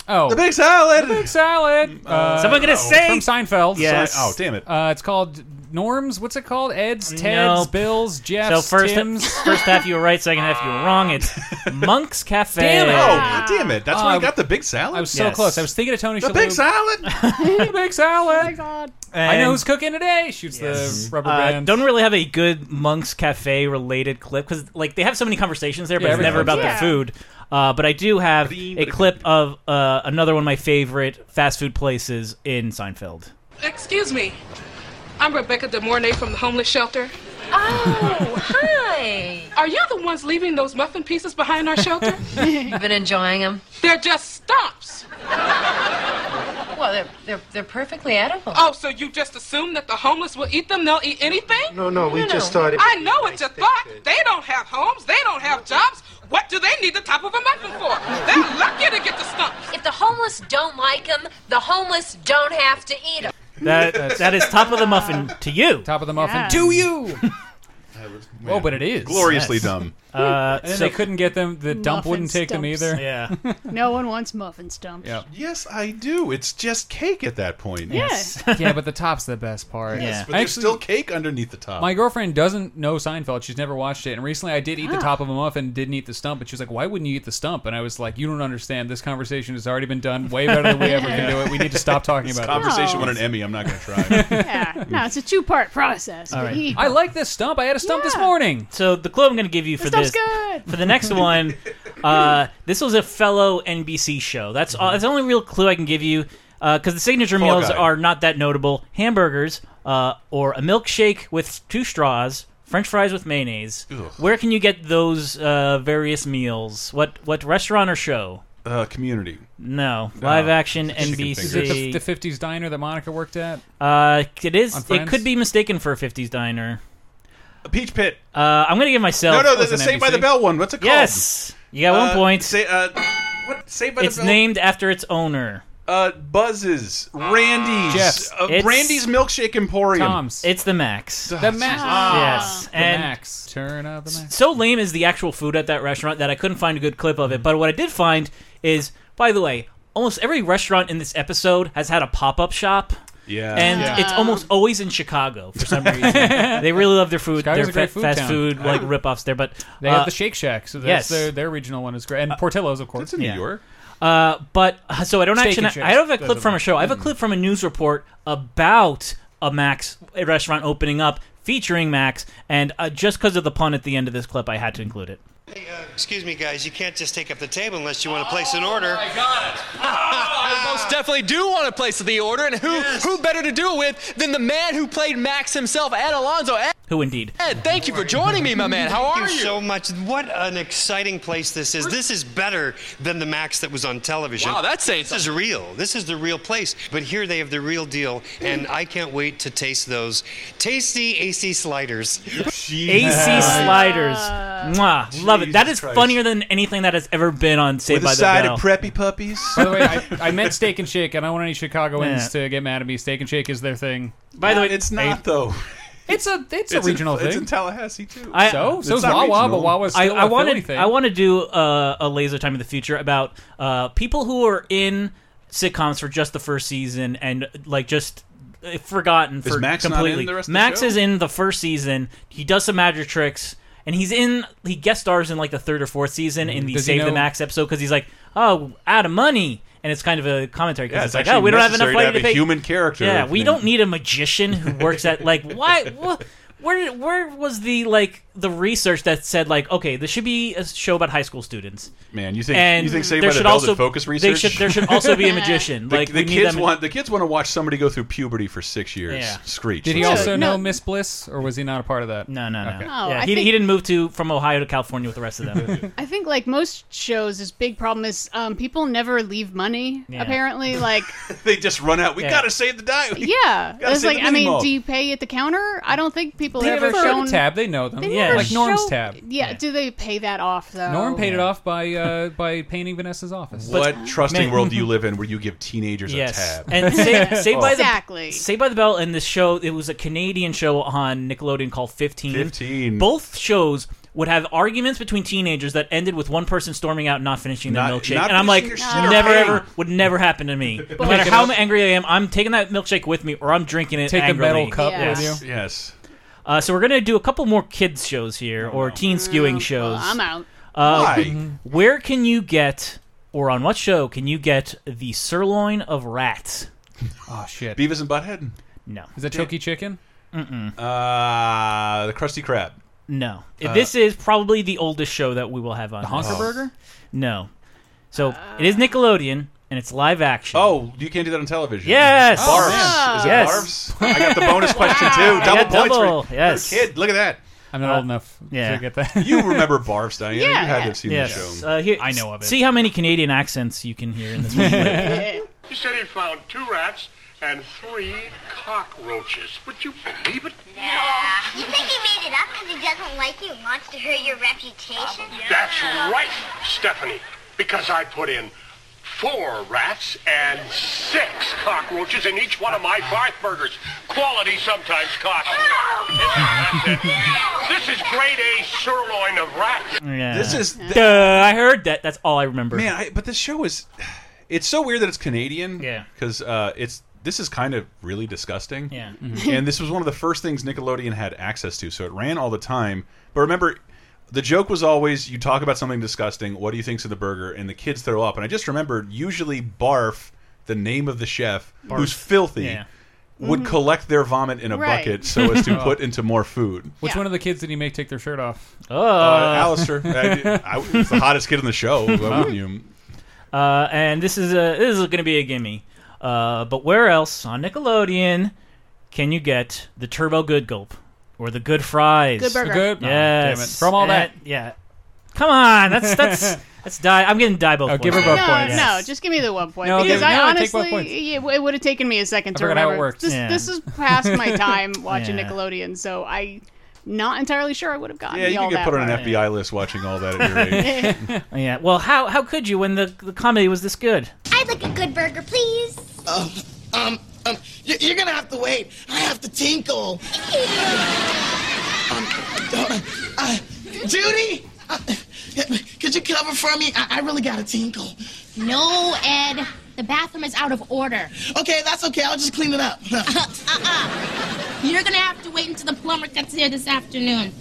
C: Oh,
A: the big salad.
C: The big salad. Uh,
B: Someone
A: Uh,
B: gonna say-
C: from Seinfeld?
B: Yes.
A: Oh, damn it.
C: Uh, it's called Norms. What's it called? Ed's, Ted's,
B: Nope.
C: Bill's, Jeff's,
B: so first,
C: Tim's.
B: first half you were right, second half you were wrong. It's Monk's Cafe.
C: Damn it.
A: Oh, damn it. That's where I
C: Um,
A: got the big salad.
C: I was so close. I was thinking of Tony.
A: The big salad.
C: the big salad. I know who's cooking today. Shoots
B: Yes.
C: the rubber
B: Uh,
C: band.
B: don't really have a good Monk's Cafe related clip because like they have so many conversations there, but
C: Yeah,
B: it's never about
C: everything.
B: the
C: Yeah.
B: food. Uh, but I do have a clip of uh, another one of my favorite fast food places in Seinfeld.
O: Excuse me. I'm Rebecca De Mornay from the homeless shelter. Oh, hi. Are you the ones leaving those muffin pieces behind our shelter? You've been enjoying them? They're just stumps.
G: Well, they're, they're, they're perfectly edible.
O: Oh, so you just assume that the homeless will eat them? They'll eat anything?
G: No, no, we No, no. just thought it
O: I know what you thought. They don't have homes. They don't have jobs. What do they need the top of a muffin for? They're lucky to get the stump.
R: If the homeless don't like them, the homeless don't have to eat them.
B: That that is top of the muffin to you.
C: Top of the
R: muffin Yeah.
C: to you. Oh, but it is
A: Gloriously dumb.
B: Uh,
C: and then
B: so-
C: they couldn't get them. The dump
D: Muffin
C: wouldn't take them
D: stumps.
C: either.
B: Yeah.
D: no one wants muffin stumps.
C: Yeah.
A: Yes, I do. It's just cake at that point.
D: Yes.
C: yeah, but the top's the best part.
A: Yes, but
C: I
A: there's still cake underneath the top.
C: My girlfriend doesn't know Seinfeld. She's never watched it. And recently I did eat
A: Ah.
C: the top of a muffin, didn't eat the stump. And she was like, why wouldn't you eat the stump? And I was like, you don't understand. This conversation has already been done way better than we ever can do it. We need to stop talking
A: This
C: about
A: conversation
C: it.
A: won an Emmy. I'm not going to try.
D: Yeah. No, it's a two part process.
B: All right.
D: He-
C: I like this stump. I had a stump this morning.
B: So the clue I'm going to give you for
D: stuff's
B: this,
D: good.
B: for the next one, uh, this was a fellow NBC show. That's all, that's the only real clue I can give you because the signature
M: Fall
B: meals
M: Guy.
B: are not that notable: hamburgers uh, or a milkshake with two straws, French fries with mayonnaise. Where can you get those uh, various meals? What what restaurant or show?
A: uh, community.
B: No, live action
A: Chicken
C: Is it the,
B: NBC.
C: the 50s diner that Monica worked at?
B: Uh, it
C: On
B: is. It
C: Friends?
B: could be mistaken for a '50s diner.
A: A peach pit.
B: Uh, I'm gonna give myself.
A: no, no, the, the Saved by the Bell one. What's it called?
B: Yes, you got one
A: Uh,
B: point.
A: Say, uh, what? Saved by
B: it's
A: the Bell.
B: named after its owner.
A: Uh, Buzzes. Randy's.
B: Jeff's.
A: Uh,
B: It's-
A: Randy's Milkshake Emporium.
B: It's the Max.
C: The Max.
B: Yes.
C: The
B: And
C: Max. Turn up the Max.
B: so lame is the actual food at that restaurant that I couldn't find a good clip of it. But what I did find is, by the way, almost every restaurant in this episode has had a pop up shop.
A: Yeah.
B: And
A: Yeah.
B: it's almost always in Chicago for some reason. they really love their food,
C: Chicago's a
B: their
C: great
B: fa-
C: food
B: fast
C: town.
B: food
C: Yeah.
B: like ripoffs there. But
C: They have
B: uh,
C: the Shake Shack, so that's
B: yes.
C: their, their regional one is great, and Portillo's, of course. It's
A: in New York.
B: Uh, but uh, so I don't
C: Steak and
B: actually.
C: chips.
B: I don't have a clip
C: Doesn't
B: from a
C: matter.
B: show. I have a clip from a news report about a Max a restaurant opening up featuring Max, and uh, just because of the pun at the end of this clip, I had to include it.
S: Hey, uh, excuse me, guys. You can't just take up the table unless you want to place
T: Oh,
S: an order. I got it.
U: I most definitely do want to place the order, and who who better to do it with than the man who played Max himself, Ed Alonso. Ed,
B: Who indeed?
U: Ed, thank you for joining me, my man. How are
S: Thank
U: you?
S: you so much. What an exciting place this is. This is better than the Max that was on television.
U: Wow, that's saying
S: This is real. This is the real place. But here they have the real deal, and I can't wait to taste those tasty AC sliders.
B: AC sliders,
C: Ah.
B: Mwah. love it. That is funnier than anything that has ever been on Saved
A: With
B: by
A: a
B: the
A: side
B: Bell.
A: of preppy puppies.
C: By the way, I, I meant Steak and Shake. I don't want any Chicagoans
A: Yeah.
C: to get mad at me. Steak and Shake is their thing.
B: By the way,
A: Uh, it's not though.
C: It's a it's, a
A: It's in-
C: regional
A: it's
C: thing.
A: in Tallahassee too.
B: I,
C: so so's Wawa, but Wawa's still
B: I, I
C: a Philly
B: wanted,
C: thing.
B: I want to do uh, a laser time in the future about uh, people who are in sitcoms for just the first season and like just uh, forgotten
A: Is
B: for
A: Max not in
B: completely.
A: the rest of the
B: Max
A: show?
B: is in the first season. He does some magic tricks. And he's in, he guest stars in like the third or fourth season in the
C: Mm, Does he
B: Save the
C: know-
B: Max episode because he's like, oh, out of money. And it's kind of a commentary because
A: Yeah,
B: it's,
A: it's
B: like,
A: actually
B: oh, we don't have enough
A: necessary to
B: money
A: have a
B: pay.
A: human character
B: Yeah, we
A: named-
B: don't need a magician who works at, like, why, wh- where, where was the, like, the research that said like, okay, this should be a show about high school students.
A: Man, you think
B: and
A: you think Saved
B: there
A: by the
B: should
A: Bell
B: also
A: did focus
B: they
A: research?
B: should- there should also be a magician.
A: The,
B: Like,
A: the
B: we need
A: kids
B: them-
A: want the kids want to watch somebody go through puberty for six years.
B: Yeah.
A: Screech.
C: Did he
A: Let's
C: also
A: do it.
C: know Miss Bliss, or was he not a part of that?
B: No, no, no.
D: Oh,
B: yeah,
D: I
B: he,
D: think-
B: he didn't move to from Ohio to California with the rest of them.
D: I think like most shows, this big problem is um, people never leave money.
B: Yeah.
D: Apparently, like
A: they just run out. We
B: Yeah.
A: gotta save the diet.
D: yeah,
A: Gotta
D: it's
A: save
D: like
A: the
D: I mean,
A: minimal.
D: do you pay at the counter? I don't think people
C: They
D: ever
C: have a
D: shown
C: tab. They know them.
D: They
C: yeah,
D: never
C: like Norm's
D: show-
C: tab.
D: Yeah, do they pay that off though?
C: Norm paid it
B: Oh.
C: off by uh, by painting Vanessa's office.
A: What trusting
B: Man-
A: world do you live in where you give teenagers
B: yes,
A: a tab?
B: and Saved, Saved by
D: Exactly.
B: the Saved by the Bell and this show. It was a Canadian show on Nickelodeon called Fifteen.
A: 15.
B: Both shows would have arguments between teenagers that ended with one person storming out and not finishing their
A: Not-
B: milkshake.
A: not
B: and I'm like,
A: finishing your shit or
B: never
A: paying.
B: ever would never happen to me. no matter how angry I am, I'm taking that milkshake with me, or I'm drinking it.
C: Take a
B: angrily.
C: metal cup with
B: Yes.
C: you.
A: Yes.
B: Uh, so we're gonna do a couple more kids shows here,
A: Oh,
B: or teen skewing shows.
D: I'm out.
B: Uh,
A: Why?
B: Where can you get, or on what show can you get the sirloin of rats?
C: Oh shit!
A: Beavis and Butthead.
B: No.
C: Is that Choky Chicken?
B: Mm-mm.
A: Uh, the Krusty Krab.
B: No.
A: Uh,
B: this is probably the oldest show that we will have on.
C: The Honker
A: Oh.
B: this.
C: Burger?
B: No. So it is Nickelodeon and it's live action.
A: Oh, you can't do that on television.
B: Yes.
A: Barfs.
B: Oh.
A: Is it
B: Yes.
A: Barfs? I got the bonus question
B: Wow.
A: too. Double
B: Yeah,
A: points
B: double.
A: for
B: Yes.
A: for a kid. Look at that.
C: I'm not old enough
B: Uh, yeah.
C: to get that.
A: You remember Barfs, Diana? you had to have seen
B: yes.
A: the show.
B: Uh, here,
C: I know of it.
B: See how many Canadian accents you can hear in this one.
T: He said he found two rats and three cockroaches. Would you believe it?
V: You think he made it up because he doesn't like you and wants to hurt your reputation?
T: That's right, Stephanie. Because I put in four rats and six cockroaches in each one of my Barth burgers. Quality sometimes costs. That's it. This is grade A sirloin of rat.
B: yeah.
A: This is-
B: Duh, I heard that. That's all I remember.
A: Man, I, but this show is. It's so weird that it's Canadian. Yeah. Because uh, it's this is kind of really disgusting.
B: Yeah.
D: Mhm.
A: and this was one of the first things Nickelodeon had access to, so it ran all the time. But remember, the joke was always you talk about something disgusting. What do you think's in the burger? And the kids throw up. And I just remembered usually Barf, the name of the chef,
B: Barf.
A: who's filthy.
B: Yeah.
A: Would
C: Mhm.
A: collect their vomit in a
C: Right.
A: bucket so as to
C: Oh.
A: put into more food.
C: Which one of the kids did he make take their shirt off?
A: Uh, Alistair, I, I, he's the hottest kid in the show. Why wouldn't you?
B: Uh, and this is a this is going to be a gimme. Uh, but where else on Nickelodeon can you get the Turbo Good Gulp or the Good Fries?
C: Good Burger. The good- oh,
B: yes. Eh,
C: damn it. From all that.
B: yeah. Come on, that's that's that's die. I'm getting die both.
C: Oh, give her
B: ways.
C: both
D: No,
C: points.
D: no, just give me the one point
B: No,
D: because
B: give-
D: I
B: no, take both points.
D: honestly, yeah, it would have taken me a second
B: I
D: to
B: forgot how it
D: remember.
B: worked.
D: This,
B: Yeah.
D: this is past my time watching
A: Yeah.
D: Nickelodeon, so I not entirely sure I would have gotten
A: Yeah, you
D: all
A: could get
D: that
A: put on
D: far.
A: an FBI list watching all that at your age.
B: yeah. Well, how how could you when the the comedy was this good?
V: I'd like a good burger, please.
W: Um, um, um, y- you're gonna have to wait. I have to tinkle. um, uh, uh, Judy, uh, could you cover for me? I, I really gotta tinkle.
V: No, Ed. The bathroom is out of order.
W: Okay, that's okay. I'll just clean it up.
V: You're gonna have to wait until the plumber gets here this afternoon.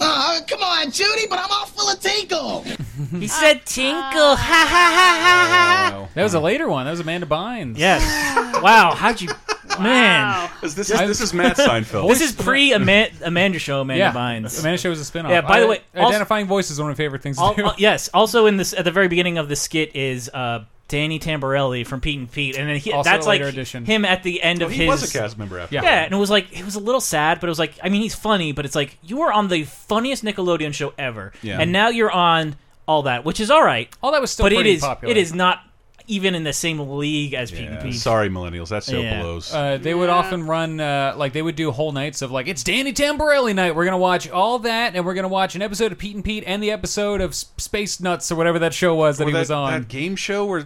W: Uh, come on, Judy, but I'm all full of tinkle.
B: He said tinkle. Ha ha ha
A: ha ha.
C: That was a later one. That was Amanda Bynes.
B: Yes. wow. How'd you, man?
A: This is this is Matt Seinfeld.
B: this is pre Amanda, Amanda show. Amanda
C: yeah.
B: Bynes.
C: Amanda Show was a spinoff.
B: Yeah. By the
C: I-
B: way, also,
C: identifying voice is one of my favorite things to
B: Al-
C: do.
B: al- yes. Also, in this, at the very beginning of the skit is uh, Danny Tamborelli from Pete and Pete, and then he,
C: Also
B: that's
C: a later
B: like
C: addition.
B: him at the end
A: Oh,
B: of
A: he
B: his.
A: was a cast member after
B: Yeah.
A: that.
B: and it was like it was a little sad, but it was like I mean he's funny, but it's like you were on the funniest Nickelodeon show ever,
C: Yeah.
B: and now you're on all that, which is all right.
C: All That was still
B: but
C: pretty
B: it is
C: popular.
B: it is not even in the same league as Pete and Pete.
A: Sorry, millennials. That show
B: Yeah.
A: blows.
C: Uh, they would often run uh, like they would do whole nights of like it's Danny Tamborelli night. We're gonna watch all that, and we're gonna watch an episode of Pete and Pete and the episode of S- Space Nuts or whatever that show was that
A: Or
C: he was on.
A: That game show where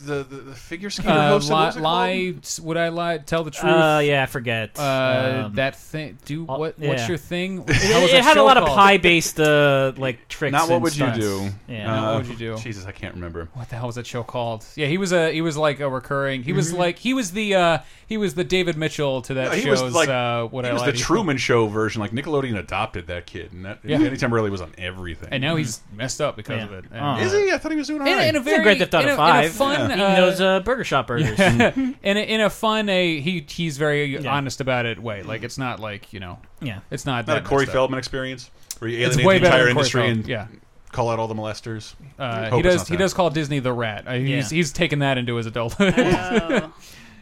A: the, the, the figure skater
C: uh,
A: hosted. what
C: lie,
A: was it
C: lie, would I lie? Tell the truth.
B: Uh, yeah, I forget.
C: Uh,
B: Um,
C: that thing. Do what?
B: yeah.
C: What's your thing?
B: It, it had a lot of pie based uh, like tricks.
A: called? Not what
B: and
A: would you
B: stunts.
A: do?
B: Yeah.
A: Uh,
C: What Would You Do?
A: Jesus, I can't remember.
C: What the hell was that show called? Yeah, he was a he was like a recurring. He was
A: Mhm.
C: like he was the uh he was the David Mitchell to that
A: No, he
C: show's
A: was like
C: uh, what
A: he
C: I
A: was the
C: Lied to You.
A: Truman Show version. Like Nickelodeon adopted that kid, and that
C: Yeah.
A: Danny Tamborelli was on everything. Mm.
B: Uh-huh.
C: And now he's messed up because of it. And,
A: Is he? I thought he was doing all
C: in,
A: right.
C: a- in a very in a, in a fun fun.
B: Eating those uh, burger shop burgers.
C: Yeah. in a, in a fun a he he's very honest about it way. Like it's not like you know.
B: Yeah.
C: It's not
A: Not a
C: that
A: Corey
C: messed up.
A: Feldman experience where you
C: It's
A: alienate
C: way
A: the
C: better
A: entire
C: than Corey
A: industry
C: Feldman,
A: and
C: yeah.
A: call out all the molesters.
C: Uh,
A: Hope
C: he
A: it's
C: does
A: not
C: he
A: that.
C: does call Disney the rat. Uh, He's
B: Yeah.
C: he's taken that into his adulthood.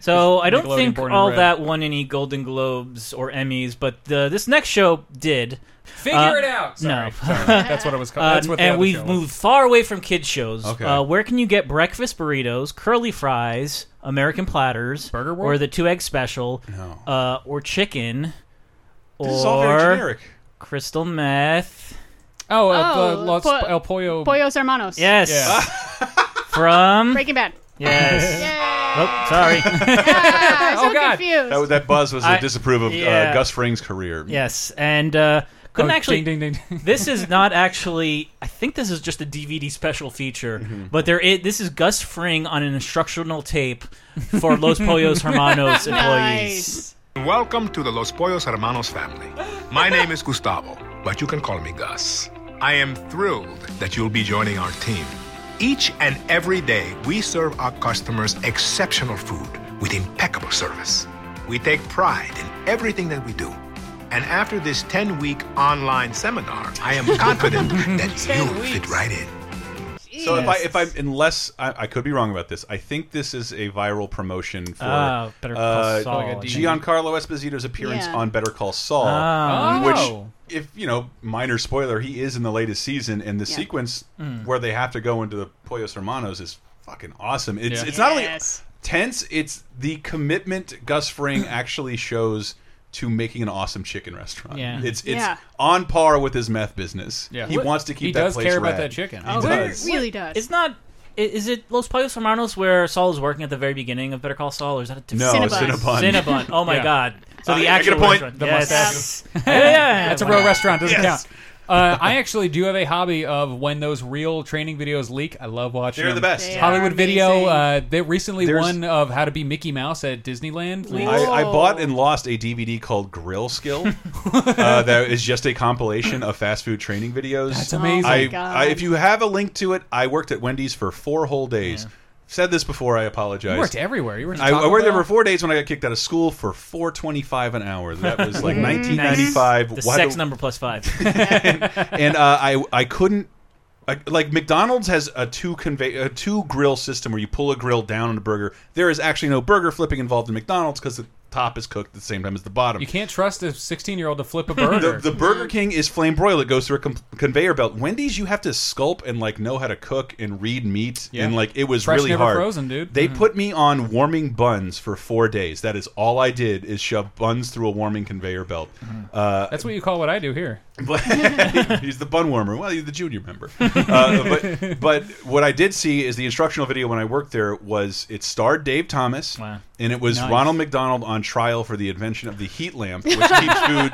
B: So I don't
C: Nickelodeon
B: think
C: born and
B: all
C: bred.
B: that won any Golden Globes or Emmys, but uh, this next show did.
C: Figure it out. Sorry.
B: No, Uh,
C: Sorry. That's what I was co- that's what the
B: Um, and
C: other
B: we've
C: show was.
B: moved far away from kids shows.
C: Okay.
B: Uh, where can you get breakfast burritos, curly fries, American platters, Burger
C: World?
B: or the two egg special, uh, or chicken, or
C: This is all very generic.
B: crystal meth?
C: Oh, uh,
D: Oh,
C: the Los
D: po-
C: El Pollo.
D: Pollos Hermanos.
B: Yes. From
D: Breaking Bad.
B: Yes. Oh, sorry.
C: Oh,
D: I'm so confused.
A: That, was- that buzz was a
B: I-
A: disapprove of uh,
B: yeah.
A: Gus Fring's career.
B: Yes, and uh, couldn't
A: Oh,
B: actually.
A: ding, ding,
B: this is not actually. I think this is just a DVD special feature.
C: Mm-hmm.
B: But there, i- this is Gus Fring on an instructional tape for Los Pollos Hermanos employees.
F: Welcome to the Los Pollos Hermanos family. My name is Gustavo, but you can call me Gus. I am thrilled that you'll be joining our team. Each and every day, we serve our customers exceptional food with impeccable service. We take pride in everything that we do. And after this 10 week online seminar, I am confident that you'll fit right in.
A: So if I if I unless I, I could be wrong about this, I think this is a viral promotion for
B: Ah, Better Call
A: uh,
B: Saul. Like a DVD.
A: Giancarlo Esposito's appearance
B: Yeah.
A: on Better Call Saul,
B: Ah. Oh.
A: which if you know minor spoiler, he is in the latest season, and the
B: Yeah.
A: sequence
B: Mm.
A: where they have to go into the Pollos Hermanos is fucking awesome. It's
B: Yeah.
A: it's not
B: Yes.
A: only tense, it's the commitment Gus Fring actually shows. To making an awesome chicken restaurant,
B: Yeah.
A: it's it's
B: Yeah.
A: on par with his meth business. he wants to keep that place rad. He
B: Oh,
A: does.
D: really does.
B: It's not. i- Is it Los Pollos Hermanos where Saul is working at the very beginning of Better Call Saul, or is that a
A: No,
B: different?
A: Cinnabon. Cinnabon.
B: Cinnabon. Oh my
A: Yeah.
B: God! So
A: Uh,
B: the
A: I get
B: actual
A: a point.
B: restaurant.
A: The
B: yes.
C: mustache.
B: yeah, yeah,
C: That's a
B: why
C: real
B: not?
C: restaurant. Doesn't
B: Yes.
C: count. Uh, I actually do have a hobby of when those real training videos leak. I love watching.
A: They're
C: them.
A: the best. They
C: Hollywood
A: are
C: Video.
A: amazing.
C: Uh, they recently
A: There's-
C: won of how to be Mickey Mouse at Disneyland. leaked.
A: I, I bought and lost a DVD called Grill Skill uh, that is just a compilation of fast food training videos.
C: That's amazing. Oh my
A: I,
C: God.
A: I, if you have a link to it, I worked at Wendy's for four whole days. Said this before, I apologize.
C: You worked everywhere. You worked at
A: I, I
C: Taco
A: worked there
C: Bell.
A: for four days when I got kicked out of school for four twenty-five an hour. That was like
B: Nice.
A: nineteen ninety-five.
B: The sex number plus five.
A: and uh, I I couldn't I, like McDonald's has a two convey a two grill system where you pull a grill down on a burger. There is actually no burger flipping involved in McDonald's because the top is cooked at the same time as the bottom.
C: You can't trust a 16 year old to flip a
A: The,
C: burger.
A: the Burger King is flame broiled. It goes through a com conveyor belt. Wendy's, you have to sculpt and like know how to cook and read meat,
C: Yeah.
A: and like it was
C: Fresh,
A: really
C: never
A: hard.
C: frozen, dude.
A: They
C: Mhm.
A: put me on warming buns for four days. That is all I did is shove buns through a warming conveyor belt. Uh,
C: That's what you call what I do here.
A: he's the bun warmer. Well, he's the junior member. Uh, but but what I did see is the instructional video when I worked there was it starred Dave Thomas, and it was
B: Nice.
A: Ronald McDonald on trial for the invention of the heat lamp, which keeps food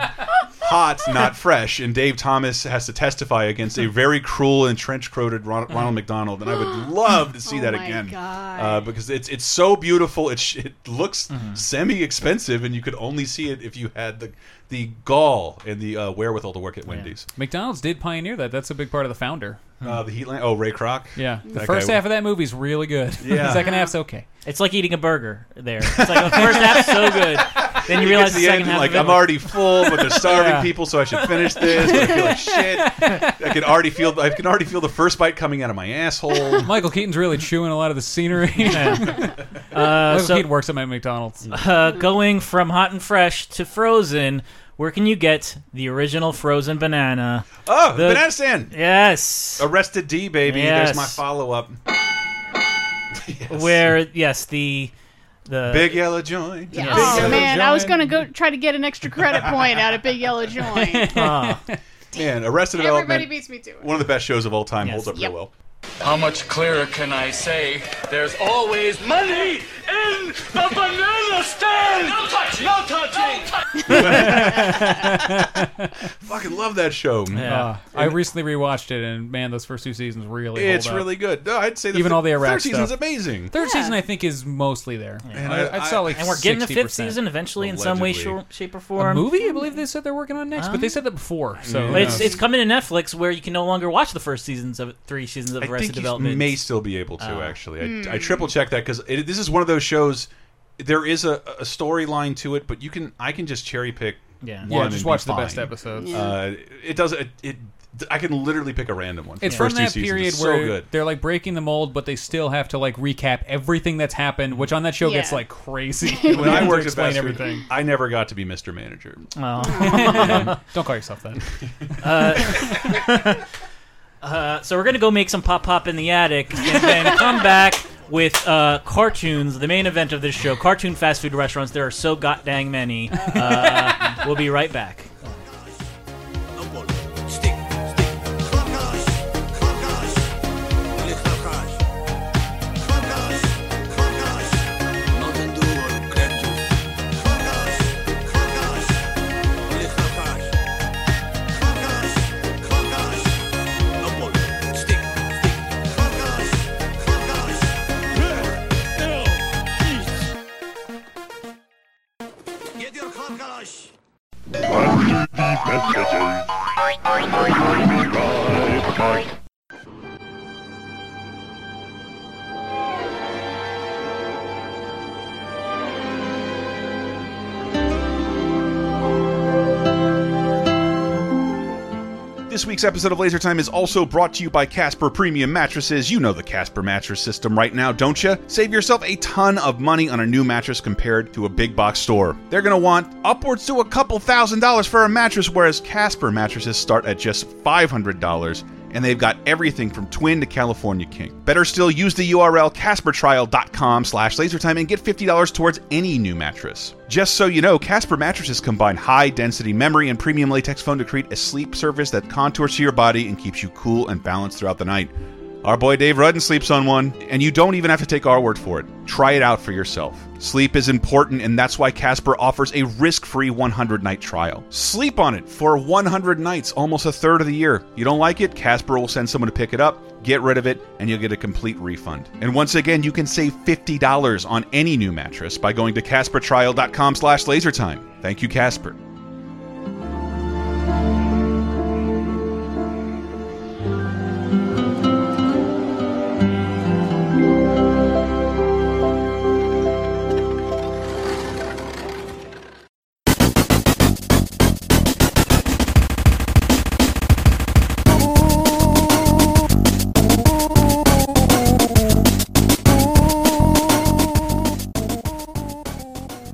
A: hot, not fresh. And Dave Thomas has to testify against a very cruel and trench coated Ron Ronald McDonald, and I would love to see that again Uh, because it's it's so beautiful. It's it looks
B: Mm-hmm.
A: semi expensive, and you could only see it if you had the the gall and the uh, wherewithal to work at Wendy's.
C: McDonald's did pioneer that. That's a big part of the founder.
B: Hmm.
A: Uh, the Heatland. Oh, Ray Kroc.
C: Yeah, the
A: That
C: first
A: guy-
C: half of that movie's really good.
A: Yeah.
C: the second half's okay.
B: It's like eating a burger. There, it's like the first half's so good, then you
A: It
B: realize
A: gets
B: the,
A: to
B: second
A: end,
B: half.
A: Like
B: of it-
A: I'm already full, but they're starving
B: Yeah.
A: people, so I should finish this. But I feel like shit. I can already feel. I can already feel the first bite coming out of my asshole.
C: Michael Keaton's really chewing a lot of the scenery.
B: Uh,
C: Michael
B: so-
C: Keaton works at my McDonald's.
B: uh, going from hot and fresh to frozen. Where can you get the original frozen banana?
A: Oh, banana stand.
B: Yes.
A: Arrested D, baby. There's
B: Yes.
A: my follow up.
B: Where yes, the the
A: Big yellow joint.
B: Yes.
D: Oh man, I was gonna go try to get an extra credit point out of Big Yellow Joint.
A: Man, Arrested
D: Everybody
A: Development.
D: beats me to it.
A: One of the best shows of all time. Holds up
D: Yep.
A: real well.
H: How much clearer can I say? There's always money in
K: A banana stand! No touching! No touching!
A: Fucking love that show.
C: Yeah. Uh, I recently rewatched it, and man, those first two seasons really.
A: It's
C: hold up.
A: really good. No, I'd say the
C: even
A: thir-
C: all the Iraq
A: third season's
C: stuff.
A: amazing.
C: Third season, I think, is mostly there.
A: And
C: I,
A: I-
C: would sell
A: I-
C: like,
B: and we're getting the fifth
C: 60%.
B: season eventually in some way,
C: Allegedly.
B: shor- shape, or form.
C: A movie, I believe they said they're working on next, but they said that before. So who
B: Uh-huh. it's
C: knows?
B: it's coming to Netflix where you can no longer watch the first seasons of three seasons of
A: I
B: Arrested
A: think you
B: Development.
A: may still be able
C: Oh.
A: to actually. I,
B: Hmm.
A: I triple checked that because this is one of those shows. There is a, a storyline to it, but you can I can just cherry pick.
C: Yeah.
A: one
C: Yeah,
A: and
C: just
A: be
C: watch the
A: fine.
C: best episodes. Yeah.
A: Uh, it does it, it. I can literally pick a random one.
C: It's
A: the first
C: from
A: two
C: that
A: seasons.
C: period
A: It's
C: where
A: so good.
C: they're like breaking the mold, but they still have to like recap everything that's happened, which on that show gets
A: Yeah.
C: like crazy.
A: when
C: They have
A: I
C: to
A: worked at
C: explain
A: Fast Food,
C: everything. Uh.
A: I never got to be Mr. Manager.
B: Oh.
C: Don't call yourself that.
B: Uh, uh, so we're gonna go make some pop pop in the attic, and then come back with uh, cartoons. The main event of this show: cartoon fast food restaurants. There are so goddamn many. Uh, we'll be right back.
A: This week's episode of Laser Time is also brought to you by Casper Premium Mattresses. You know the Casper mattress system right now, don't you? Save yourself a ton of money on a new mattress compared to a big box store. They're going to want upwards to a couple thousand dollars for a mattress, whereas Casper mattresses start at just $500. And they've got everything from twin to California king. Better still, use the URL CasperTrial.com slash lasertime and get $50 towards any new mattress. Just so you know, Casper mattresses combine high density memory and premium latex foam to create a sleep surface that contours to your body and keeps you cool and balanced throughout the night. Our boy Dave Rudden sleeps on one, and you don't even have to take our word for it. Try it out for yourself. Sleep is important, and that's why Casper offers a risk free 100 night trial. Sleep on it for 100 nights, almost a third of the year. You don't like it? Casper will send someone to pick it up, get rid of it, and you'll get a complete refund. And once again, you can save $50 on any new mattress by going to CasperTrial.com slash lasertime. Thank you, Casper.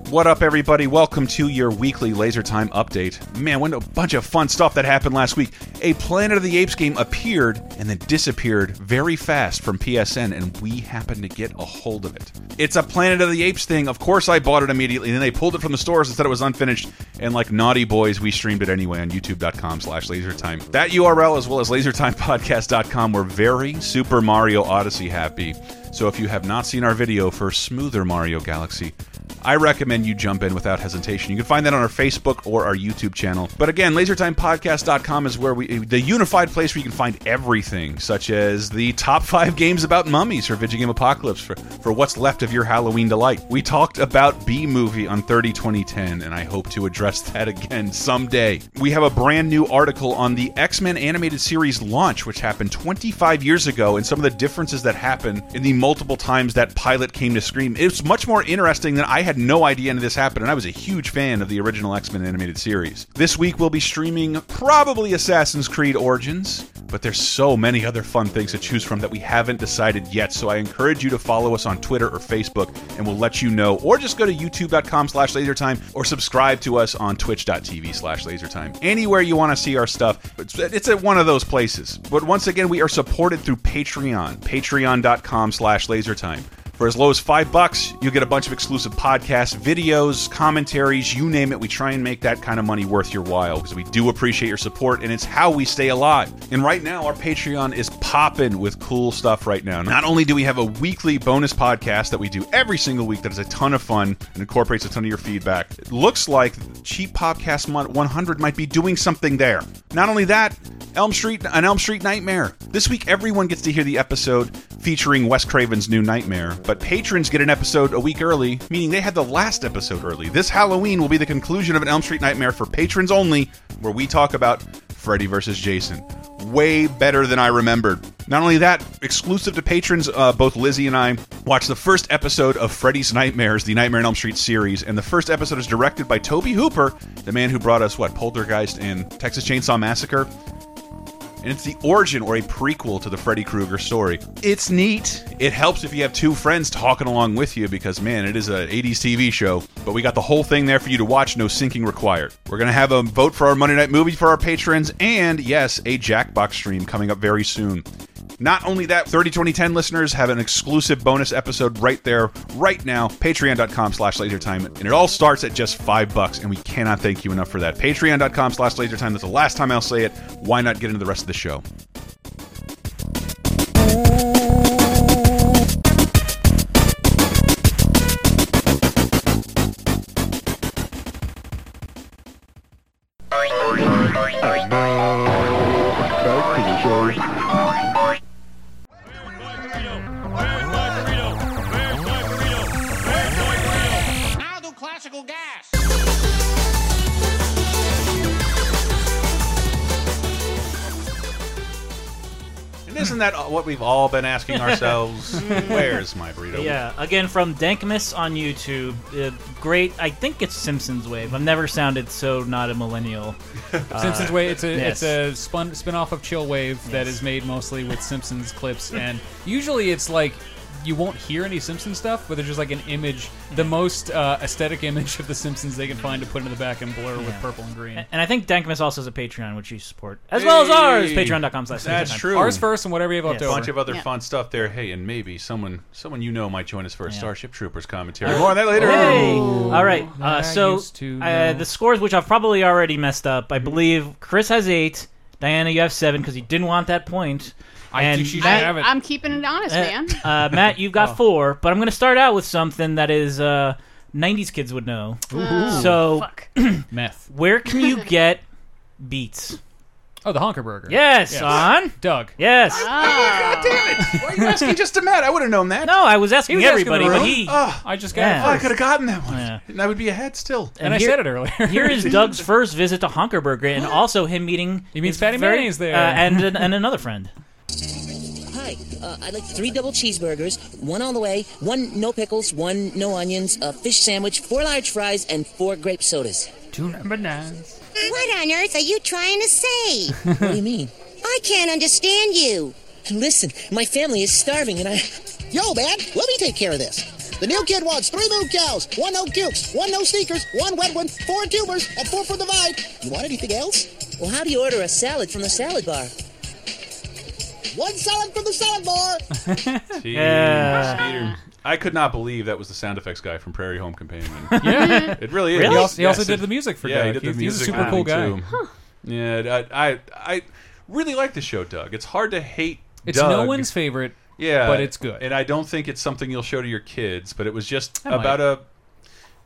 A: What up, everybody? Welcome to your weekly Laser Time update. Man, what a bunch of fun stuff that happened last week. A Planet of the Apes game appeared and then disappeared very fast from PSN, and we happened to get a hold of it. It's a Planet of the Apes thing. Of course, I bought it immediately, and then they pulled it from the stores and said it was unfinished. And like naughty boys, we streamed it anyway on youtube.com slash lasertime. That URL, as well as lasertimepodcast.com, were very Super Mario Odyssey happy. So if you have not seen our video for Smoother Mario Galaxy, I recommend you jump in without hesitation. You can find that on our Facebook or our YouTube channel. But again, lasertimepodcast.com is where we the unified place where you can find everything, such as the top five games about mummies for Vigigame Apocalypse for, for what's left of your Halloween delight. We talked about B movie on 30 2010, and I hope to address that again someday. We have a brand new article on the X-Men animated series launch, which happened 25 years ago, and some of the differences that happened in the multiple times that pilot came to Scream. It's much more interesting than I had no idea any of this happened, and I was a huge fan of the original X-Men animated series. This week we'll be streaming probably Assassin's Creed Origins, but there's so many other fun things to choose from that we haven't decided yet, so I encourage you to follow us on Twitter or Facebook, and we'll let you know, or just go to youtube.com slash lasertime, or subscribe to us on twitch.tv slash lasertime. Anywhere you want to see our stuff, it's, it's at one of those places. But once again, we are supported through Patreon, patreon.com slash lasertime. For as low as five bucks, you get a bunch of exclusive podcasts, videos, commentaries, you name it. We try and make that kind of money worth your while because we do appreciate your support and it's how we stay alive. And right now, our Patreon is popping with cool stuff right now. Not only do we have a weekly bonus podcast that we do every single week that is a ton of fun and incorporates a ton of your feedback, it looks like Cheap Podcast Month 100 might be doing something there. Not only that, Elm Street, an Elm Street Nightmare. This week, everyone gets to hear the episode featuring Wes Craven's new nightmare, but patrons get an episode a week early, meaning they had the last episode early. This Halloween will be the conclusion of an Elm Street Nightmare for patrons only, where we talk about Freddy versus Jason. Way better than I remembered. Not only that, exclusive to patrons, uh, both Lizzie and I watched the first episode of Freddy's Nightmares, the Nightmare on Elm Street series, and the first episode is directed by Toby Hooper, the man who brought us, what, Poltergeist and Texas Chainsaw Massacre? and it's the origin or a prequel to the Freddy Krueger story. It's neat. It helps if you have two friends talking along with you because, man, it is an 80s TV show. But we got the whole thing there for you to watch, no syncing required. We're going to have a vote for our Monday Night Movie for our patrons, and yes, a Jackbox stream coming up very soon. Not only that, 30 2010 listeners have an exclusive bonus episode right there, right now, patreon.com slash lasertime. And it all starts at just five bucks, and we cannot thank you enough for that. Patreon.com slash lasertime. That's the last time I'll say it. Why not get into the rest of the show?
P: I'll do classical gas.
A: And isn't that what we've all been asking ourselves? Where's my burrito?
B: Mm. Yeah, again from Dankmas on YouTube. Uh, great, I think it's Simpsons Wave. I've never sounded so not a millennial. Uh,
C: Simpsons Wave. It's a
B: yes.
C: it's a spun spin-off of Chill Wave that is made mostly with Simpsons clips, and usually it's like you won't hear any Simpsons stuff, but there's just like an image, the most uh, aesthetic image of the Simpsons they can find to put in the back and blur with
B: Yeah.
C: purple and green.
B: and I think Dankmas also has a Patreon, which you support as well as ours.
A: Hey.
B: Patreon.com slash.
A: That's
B: lasertime.
A: true.
B: Yes.
A: A bunch of other fun stuff there. Hey, and maybe someone someone you know might join us for a Starship Troopers commentary.
B: Uh-huh.
A: More on that later.
B: Hey. All right.
A: I
B: Uh, so
A: used to
B: uh,
A: know.
B: the scores, which I've probably already messed up, I believe Chris has eight. Diana, you have seven because you didn't want that point. I and
C: think she
B: Matt-
D: I, am keeping it honest,
C: Eh.
B: uh,
D: man.
B: uh, Matt, you've got
D: Oh.
B: four, but I'm going to start out with something that is uh, 90s kids would know.
D: Ooh.
B: So,
C: meth.
B: Where can you get beats?
C: Oh, the Honker Burger.
B: Yes,
C: Yes.
B: on
C: Doug.
B: Yes.
A: God damn it! Why are you asking just to Matt? I would have known that.
B: No, I was
A: He
B: asking
A: was asking
B: everybody,
A: the
B: but
A: room.
B: he.
A: Oh,
C: I just
A: Oh, I could
B: have
A: have gotten that one,
B: Yeah.
A: and I would be ahead still.
B: here-
C: earlier.
B: here is Doug's first visit to Honkerburger, and also him meeting. He
C: meets Fatty Mayonnaise there.
B: uh, and an- and another friend.
H: Hi, uh, I'd like three double cheeseburgers, one on the way, one no pickles, one no onions, a fish sandwich, four large fries, and four grape sodas.
C: Two number nines.
H: What on earth are you trying to say? what do you mean? I can't understand you. Listen, my family is starving, and I.
I: Yo, man, let me take care of this. The new kid wants three new gals, one no gilks, one no sneakers, one wet one, four tubers, and four for the vibe. You want anything else?
H: Well, how do you order a salad from the salad bar?
I: One salad from the salad bar.
A: Jeez,
B: Yeah.
A: Peter. I could not believe that was the sound effects guy from Prairie Home Companion.
C: Yeah.
A: it really is.
C: Really? He also- he also
A: Yes,
C: did
A: it-
C: the music for
A: yeah,
C: Doug.
A: he did the
C: He's- he's a
A: music
C: super
A: for
C: cool
A: Doug,
C: guy.
A: Too. Yeah, I, I I really like the show, Doug. It's hard to hate.
C: It's
A: Doug.
C: no one's favorite.
A: Yeah,
C: but it's good.
A: and I don't think it's something you'll show to your kids. But it was just
C: I might.
A: about a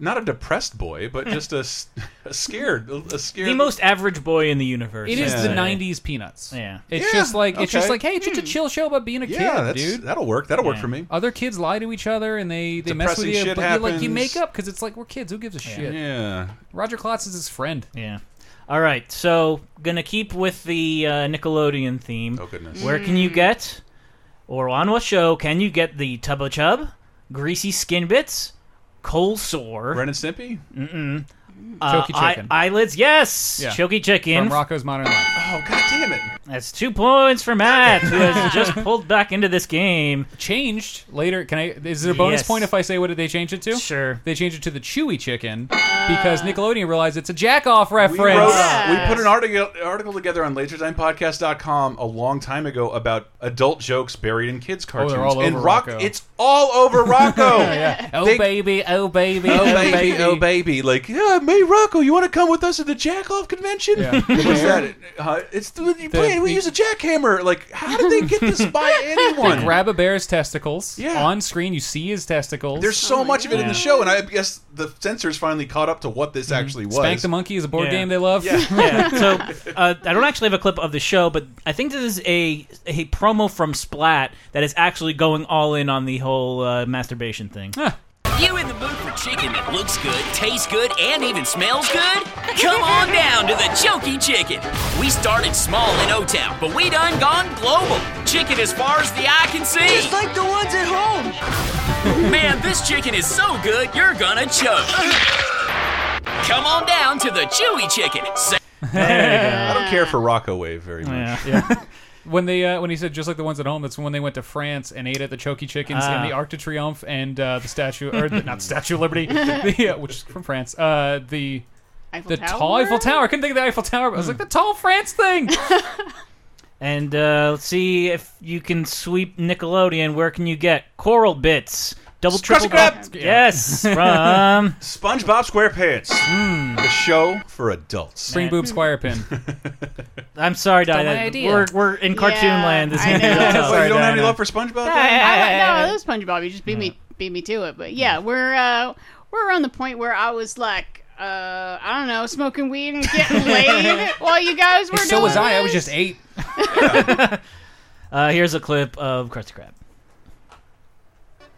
A: not a depressed boy, but just a, s- a scared, a scared.
B: The most average boy in the universe.
C: It is
B: I'd
C: the
B: say.
C: '90s Peanuts.
B: Yeah.
C: It's
B: Yeah,
C: just like it's just
B: okay.
C: like hey, it's
A: Hmm.
C: just a chill show about being a
B: Yeah,
C: kid,
B: that's-
C: dude.
A: that'll work. That'll work for me.
C: Other kids lie to each other and they they mess with
A: Depressing
C: you,
A: shit
C: but you like you
A: happens. Mm-hmm.
C: make up because it's like we're kids. Who gives a shit?
A: Yeah.
C: Roger Klotz is his friend.
B: Yeah. All right, so gonna keep with the uh, Nickelodeon theme. Oh
A: goodness!
B: Where can you get, or on what show can you get the Tubbo Chub, Greasy Skin Bits, Cold Sore, Ren
A: and Stimpy,
B: mm-mm,
C: Choky
B: uh, eye-
C: Chicken.
B: eyelids, yes,
C: Yeah.
B: Choky Chicken
C: From Rocco's Modern Life.
A: Oh, god damn it.
B: That's two points for Matt, who has just pulled back into this game.
C: Changed later. Can I? Is there a bonus
B: Yes.
C: point if I say what did they change it to?
B: Sure.
C: They changed it to the Chewy Chicken because Nickelodeon realized it's a jack-off reference.
A: We, wrote- we put an article, article together on LaserTimePodcast.com a long time ago about adult jokes buried in kids'
C: Oh,
A: cartoons.
C: they're all
A: and
C: over
A: Rock,
C: Rocco.
A: it's all over Rocco.
C: Oh
A: They-
C: baby, oh baby,
A: oh baby, oh baby, like yeah, May Rocco, you want to come with us to the Jackoff convention?
C: Yeah.
A: What was that? Uh, it's the, you play, we use a jackhammer. Like, how did they get this by anyone?
C: They grab a bear's testicles.
A: Yeah.
C: On screen, you see his testicles.
A: There's so much of it in the show, and I guess the censors finally caught up to what this
C: Mm-hmm.
A: actually was.
C: Spank the Monkey is a board
A: Yeah.
C: game they love.
B: Yeah. So uh, I don't actually have a clip of the show, but I think this is a a promo from Splat that is actually going all in on the whole uh, masturbation thing.
C: Ah,
J: You in the mood for chicken that looks good, tastes good, and even smells good? Come on down to the Chunky Chicken. We started small in O Town, but we done gone global. Chicken as far as the eye can see. Just like the ones at home. Man, this chicken is so good, you're gonna choke. Come on down to the Chewy Chicken. Sa-
A: I don't care for Rocco Wave very much.
C: Yeah. When they uh, when he said just like the ones at home, that's when they went to France and ate at the Choky Chickens
A: Ah.
C: and the Arc de Triomphe and uh, the Statue or the, not Statue of Liberty, the, uh, which is from France. Uh, the
D: Eiffel
C: the tall
D: Tower?
C: Eiffel Tower. I couldn't think of the Eiffel Tower. But I was like the tall France thing.
B: And uh, let's see if you can sweep Nickelodeon. Where can you get Coral Bits? Double triple
A: Scrub,
B: dou- Yes, from
A: SpongeBob SquarePants, the show for adults.
C: Hmm. Spring boob squire pin.
B: I'm sorry, Di.
C: Stole my
B: that-
C: idea.
B: We're we're in cartoon
D: Yeah,
B: land. This
D: I
B: is
D: know.
A: Wait, you don't have any love for SpongeBob?
D: I, no, it was SpongeBob. You just beat me beat me to it. But yeah, we're uh, we're around the point where I was like, uh, I don't know, smoking weed and getting laid while you guys were
C: so
D: doing
C: was I. I was
D: this.
C: just eight.
B: Uh, here's a clip of Krusty Krab.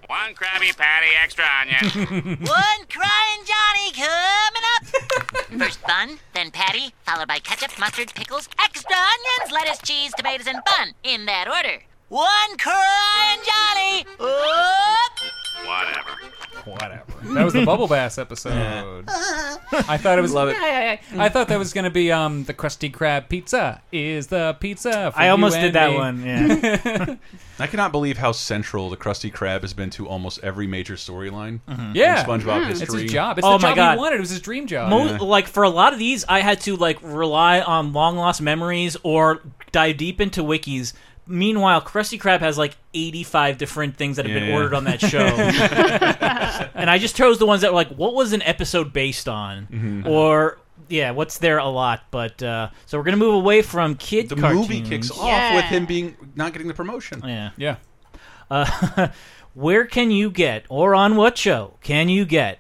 L: One Krabby Patty extra onion.
N: One crying Johnny coming up. First bun, then patty, followed by ketchup, mustard, pickles, extra onions, lettuce, cheese, tomatoes, and bun in that order. One crying Johnny. Oop.
L: Whatever.
C: Whatever. That was the Bubble Bass episode. I thought it was.
L: Love it.
C: I thought that was gonna be um the Krusty Krab pizza is the pizza. For
B: I
C: you
B: almost
C: and
B: did that
C: me.
B: one. Yeah.
A: I cannot believe how central the Krusty Krab has been to almost every major storyline in
C: Yeah.
A: SpongeBob
C: Mhm. It's
A: history.
C: his job. It's
B: oh
C: the
B: my
C: job he
B: god,
C: wanted. It was his dream job.
B: Mo-
C: Yeah.
B: Like for a lot of these, I had to like rely on long lost memories or dive deep into wikis. Meanwhile, Krusty Krab has like 85 different things that have been
A: Yeah.
B: ordered on that show, and I just chose the ones that were like, what was an episode based on,
A: Mhm.
B: or yeah, what's there a lot. But uh, so we're gonna move away from kid.
A: The movie kicks off with him being not getting the promotion.
B: Yeah.
C: Yeah.
B: Uh, where can you get, or on what show can you get,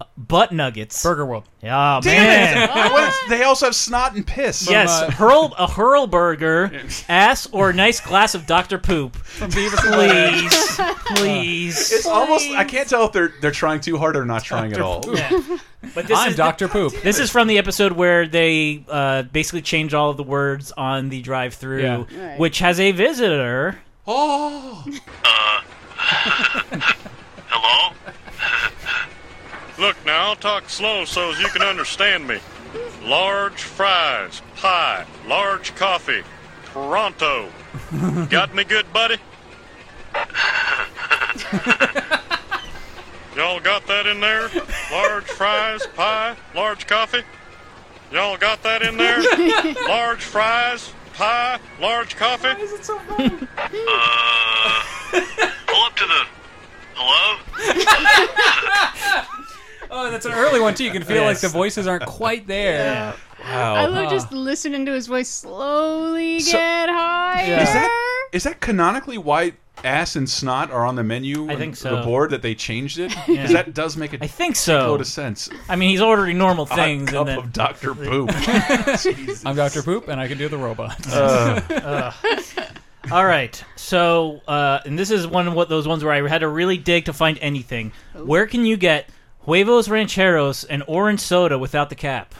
B: uh, butt nuggets? Burger
C: World.
B: Yeah,
A: Damn
B: man.
A: it! What is- they also have snot and piss.
B: Yes, hurl a hurl burger, ass, or a nice glass of Dr. Poop. Please, please.
A: It's almost. I can't tell if they're they're trying too hard or not trying at all.
B: But this
C: I'm
B: is
C: Dr. Poop.
B: This is from the episode where they uh, basically change all of the words on the drive-through,
C: Yeah. Right.
B: which has a visitor.
A: Oh.
T: Hello? Look, now I'll talk slow so as you can understand me. Large fries, pie, large coffee, Toronto. Got me good, buddy? Y'all got that in there? Large fries, pie, large coffee? Y'all got that in there? Large fries, pie, large coffee? Why is
C: it so funny?
T: Uh, pull up to the.
C: Oh, that's an early one too. You can feel
A: Yes.
C: like the voices aren't quite there.
A: Yeah. Wow.
D: I love just listening to his voice slowly
A: So-
D: get higher.
A: Is that is that canonically why ass and snot are on the menu? I
B: think so.
A: The board that they changed it because
B: Yeah.
A: that does make a
B: I think so.
A: load of sense.
B: I mean, he's ordering normal
A: Odd
B: things.
A: cup
B: and then...
A: of Dr. Poop.
C: I'm Dr. Poop, and I can do the robot.
B: Uh. All right. So, uh, and this is one of what those ones where I had to really dig to find anything.
C: Oh.
B: Where can you get huevos rancheros and orange soda without the cap?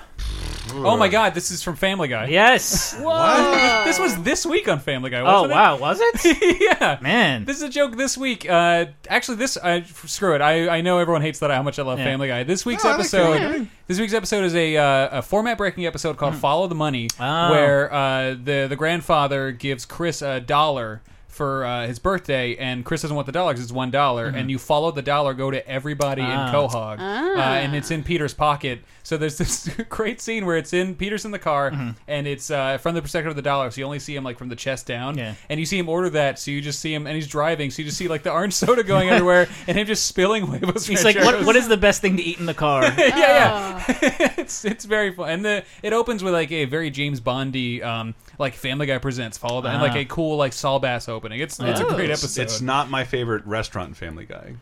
C: Oh my God, this is from Family Guy.
B: Yes.
C: what? This was this week on Family Guy.
B: Oh
C: Wasn't
B: wow, was it?
C: yeah.
B: Man.
C: This is a joke this week. Uh, actually, this I screw it. I, I know everyone hates that. How much I love
B: Yeah.
C: Family Guy. This week's
B: No, I like
C: episode.
B: Family Guy.
C: this week's episode is a, uh, a format breaking episode called "Follow the Money,"
B: Oh.
C: where uh, the the grandfather gives Chris a dollar. For uh, his birthday, and Chris doesn't want the dollar 'cause it's one
B: Mhm.
C: and you follow the dollar, go to everybody
B: Ah.
C: in Quahog, uh,
B: Ah.
C: and it's in Peter's pocket. So there's this great scene where it's in Peter's in the car,
B: Mm-hmm.
C: and it's uh, from the perspective of the dollar, so you only see him like from the chest down,
B: Yeah.
C: and you see him order that, so you just see him, and he's driving, so you just see like the orange soda going everywhere, and him just spilling huevos.
B: He's like, what, what is the best thing to eat in the car?
C: yeah, yeah. it's it's very fun, and the it opens with like a very James Bondy, um, like Family Guy presents, followed and like
A: Ah. Oh.
C: a cool like Saul Bass opening. It's it's a great episode.
A: It's not my favorite restaurant in Family Guy.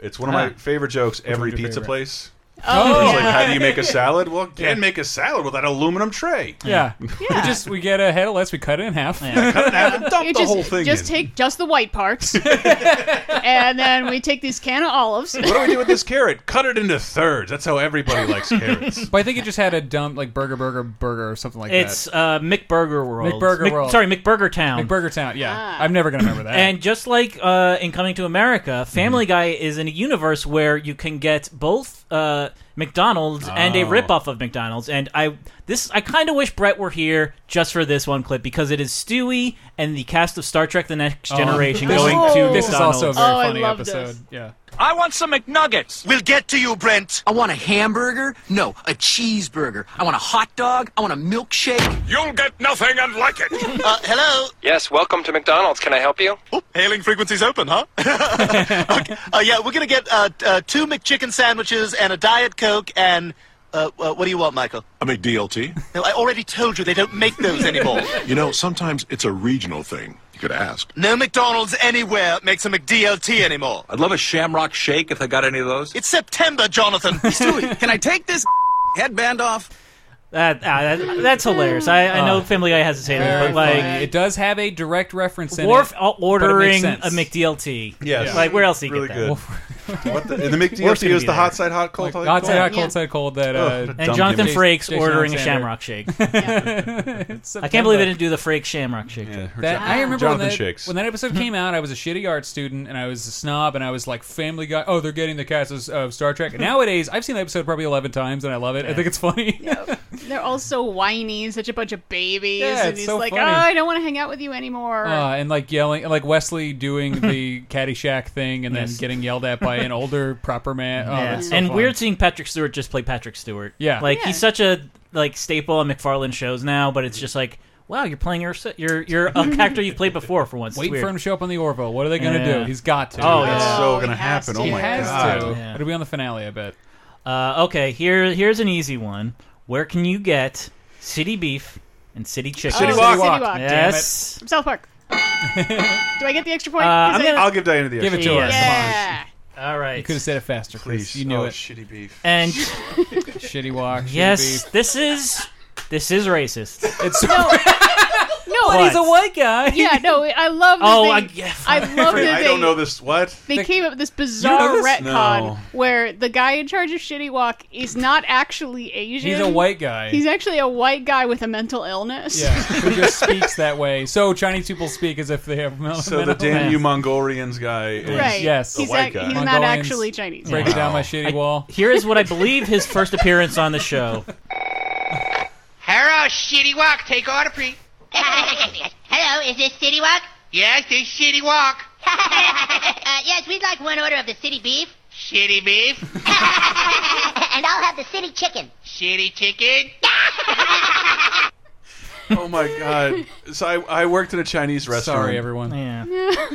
A: It's one of
C: Ah.
A: my favorite jokes.
C: one's
A: every
C: your
A: pizza
C: favorite?
A: place.
C: Oh,
A: It's like,
C: yeah.
A: how do you make a salad? Well, can't
C: Yeah.
A: make a salad with that aluminum tray.
C: Yeah. We just we get a head of lettuce, we cut it in half.
A: dump
D: You
A: the
D: just,
A: whole thing
D: Just
A: in.
D: take just the white parts, and then we take these can of olives.
A: What do we do with this carrot? Cut it into thirds. That's how everybody likes carrots.
C: but I think it just had a dump like burger burger burger or something like
B: It's
C: that.
B: uh, McBurger World.
C: McBurger
B: Mc-
C: World.
B: Sorry, McBurger Town.
C: McBurger Town. Yeah, I'm never gonna remember that.
B: And just like uh, in Coming to America, Family
C: Mm-hmm.
B: Guy is in a universe where you can get both uh, McDonald's and a
M: Oh.
B: ripoff of McDonald's. And I this I kind of wish Brett were here just for this one clip because it is Stewie and the cast of Star Trek: The Next
C: Oh,
B: Generation
C: this-
B: going
C: oh.
B: to
C: this is also
B: McDonald's.
C: a very Oh, I funny love episode. this. Yeah.
E: I want some McNuggets.
G: We'll get to you, Brent. I want a hamburger. No, a cheeseburger. I want a hot dog. I want a milkshake.
E: You'll get nothing and like it.
G: Uh, hello?
E: Yes, welcome to McDonald's. Can I help you?
G: Hailing frequencies open, huh? okay. uh, yeah, we're going to get uh, t- uh, two McChicken sandwiches and a Diet Coke and. Uh, uh, what do you want, Michael?
Q: I make DLT.
G: No, I already told you they don't make those anymore.
Q: You know, sometimes it's a regional thing. You could ask.
G: no McDonald's anywhere makes a McDLT anymore.
E: I'd love a shamrock shake if they got any of those.
G: It's September, Jonathan. Stewie, can I take this headband off?
B: That, ah, that- that's hilarious. I, I know
C: Oh.
B: Family Guy has its haters, but like
C: it does have a direct reference in
B: Worf
C: it,
B: o-
C: but it makes
B: ordering
C: sense.
B: a McDLT.
A: Yes.
B: Like where else do you
A: Really
B: get
A: good.
B: that?
A: What the, and the McDLT is the hot side hot, cold
C: Like,
A: side
C: hot side hot,
A: cold.
C: cold side cold. That
A: Ugh,
C: uh,
A: what a
B: And
A: dumb
B: Jonathan
A: gimmick.
B: Frakes
C: Jason
B: ordering a
C: Alexander.
B: shamrock shake.
C: It's
B: I can't believe
C: September.
B: they didn't do the Frakes shamrock shake.
C: That, I remember when
B: Jonathan
C: that,
B: shakes.
C: when that episode came out, I was a shitty art student and I was a snob and I was like, Family Guy, oh, they're getting the cast of, of Star Trek. Nowadays, I've seen that episode probably 11 times and I love it. I think it's funny.
D: They're all so whiny, and such a bunch of babies.
C: Yeah,
D: and
C: it's
D: he's
C: so
D: like,
C: funny.
D: oh, I don't want to hang out with you anymore.
C: Uh, and like yelling, like Wesley doing the Caddyshack thing and
B: Yes.
C: then getting yelled at by an older, proper man. Oh,
B: Yeah.
C: that's so
B: and
C: fun.
B: weird seeing Patrick Stewart just play Patrick Stewart.
C: Yeah.
B: like
C: Yeah.
B: he's such a like staple on McFarlane shows now. But it's just like, wow, you're playing your your your a character you've played before for once. It's
C: Wait
B: weird.
C: for him to show up on the Orville. What are they going to
B: Yeah.
C: do? He's got to.
B: Oh, that's so
A: gonna happen. Oh
C: He
A: my
C: has
A: God.
C: to.
B: Yeah.
C: It'll be on the finale, I bet.
B: Uh, okay, here here's an easy one. Where can you get city beef and city chicken?
D: City Oh, Walk. City Walk.
B: Yes.
D: From South Park. Do I get the extra point?
B: Uh,
D: 'Cause
B: I'm
D: I-
B: gonna-
A: I'll give Diana the
C: Give it
A: extra.
C: to her.
D: Yeah.
B: All right.
C: You could have said it faster, Chris.
A: Please.
C: You knew
A: Oh,
C: it.
A: shitty beef.
B: And
C: shitty walk. shitty
B: yes,
C: beef.
B: this is this is racist.
C: It's
D: No,
B: But he's a
C: white guy.
D: Yeah, no, I love. That
B: Oh,
D: they,
B: I- yeah,
D: I love that
A: I
D: they,
A: don't know this. What?
D: They came up with this bizarre
A: You know this?
D: retcon
A: No.
D: where the guy in charge of Shitty Walk is not actually Asian.
C: He's a white guy.
D: He's actually a white guy with a mental illness.
C: yeah, who just speaks that way. So Chinese people speak as if they have mental
A: So the damn you Mongolians guy is
D: Right.
C: Yes.
A: the
D: He's
A: white
D: act-
A: guy.
D: he's not Mongolians actually Chinese.
C: breaking down my
B: Wow.
C: shitty wall.
B: Here is what I believe his first appearance on the show.
X: Hello, Shitty Walk. Take order, please.
V: Hello, is this City Walk?
X: Yes, this Shitty Walk.
V: Uh, yes, we'd like one order of the city beef.
X: Shitty beef.
V: and I'll have the city chicken.
X: Shitty chicken.
A: Oh my god! So I, I worked in a Chinese restaurant.
C: Sorry, everyone.
B: Yeah.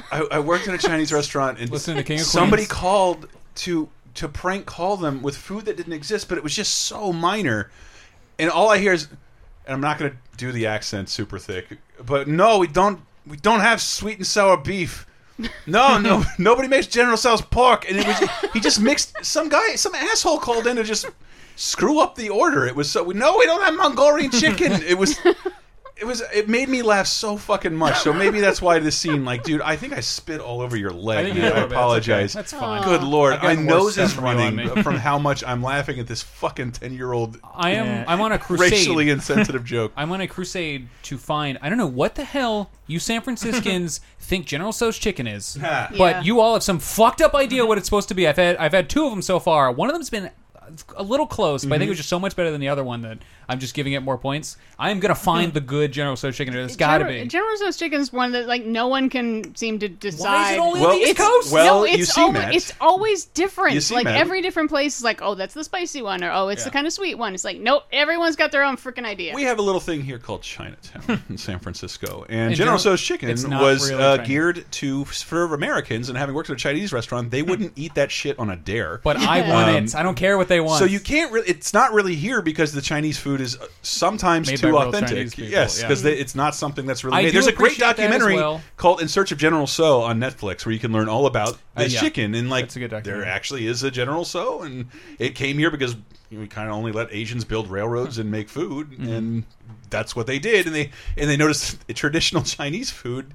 A: I, I worked in a Chinese restaurant and
C: Listen to King of
A: somebody
C: Queens.
A: called to to prank call them with food that didn't exist, but it was just so minor. And all I hear is, and I'm not going to do the accent super thick, but no, we don't we don't have sweet and sour beef. No, no, nobody makes General Tso's pork, and it was he just mixed some guy, some asshole called in to just screw up the order. It was so no, we don't have Mongolian chicken. It was. It it was it made me laugh so fucking much. So maybe that's why this scene, like, dude, I think I spit all over your leg.
C: I think
A: man.
C: you did a
A: I
C: little bit. That's okay.
A: apologize.
C: That's fine.
A: Good lord,
C: I've
A: my
C: gotten worse
A: nose
C: stuff
A: is
C: from you on
A: running
C: me.
A: from how much I'm laughing at this fucking ten year old.
C: I am. I'm on a crusade.
A: Racially insensitive joke.
C: I'm on a crusade to find. I don't know what the hell you San Franciscans think General So's chicken is,
A: Yeah.
C: but you all have some fucked up idea what it's supposed to be. I've had I've had two of them so far. One of them's been a little close, but I
A: Mm-hmm.
C: think it
B: Mhm.
C: was just so much better than the other one that I'm just giving it more points. I am gonna find the good General So's chicken. It's got to
D: General-
C: be.
D: General Tso's chicken is one that like no one can seem to decide.
C: only on the Well- East Coast?
A: well,
D: no, it's
A: you see,
D: always,
A: Matt.
D: it's always different.
A: You see,
D: like
A: Matt.
D: every different place is like, oh, that's the spicy one, or oh, it's the
A: Yeah.
D: kind of sweet one. It's like, nope, everyone's got their own freaking idea.
A: We have a little thing here called Chinatown in San Francisco, and,
C: And
A: General
C: General-
A: Tso's
C: it's
A: chicken
C: not
A: was
C: really
A: uh,
C: Chinese.
A: geared to for Americans. And having worked at a Chinese restaurant, they wouldn't eat that shit on a dare.
C: Hmm. But I want
A: Um,
C: it. I don't care what they want.
A: So you can't really. It's not really here because the Chinese food is uh, sometimes
C: Made by
A: too
C: real
A: authentic.
C: Chinese people,
A: yes,
C: yeah. Hmm.
A: because it's not something that's really.
C: I
A: made.
C: do
A: There's a great
C: appreciate that as
A: documentary
C: well.
A: called "In Search of General So" on Netflix where you can learn all about
C: Uh,
A: this
C: yeah.
A: chicken and like
C: That's a good documentary.
A: there actually is a General So, and it came here because we kind of only let Asians build railroads and make food,
C: Mm-hmm.
A: and that's what they did. And they and they noticed traditional Chinese food.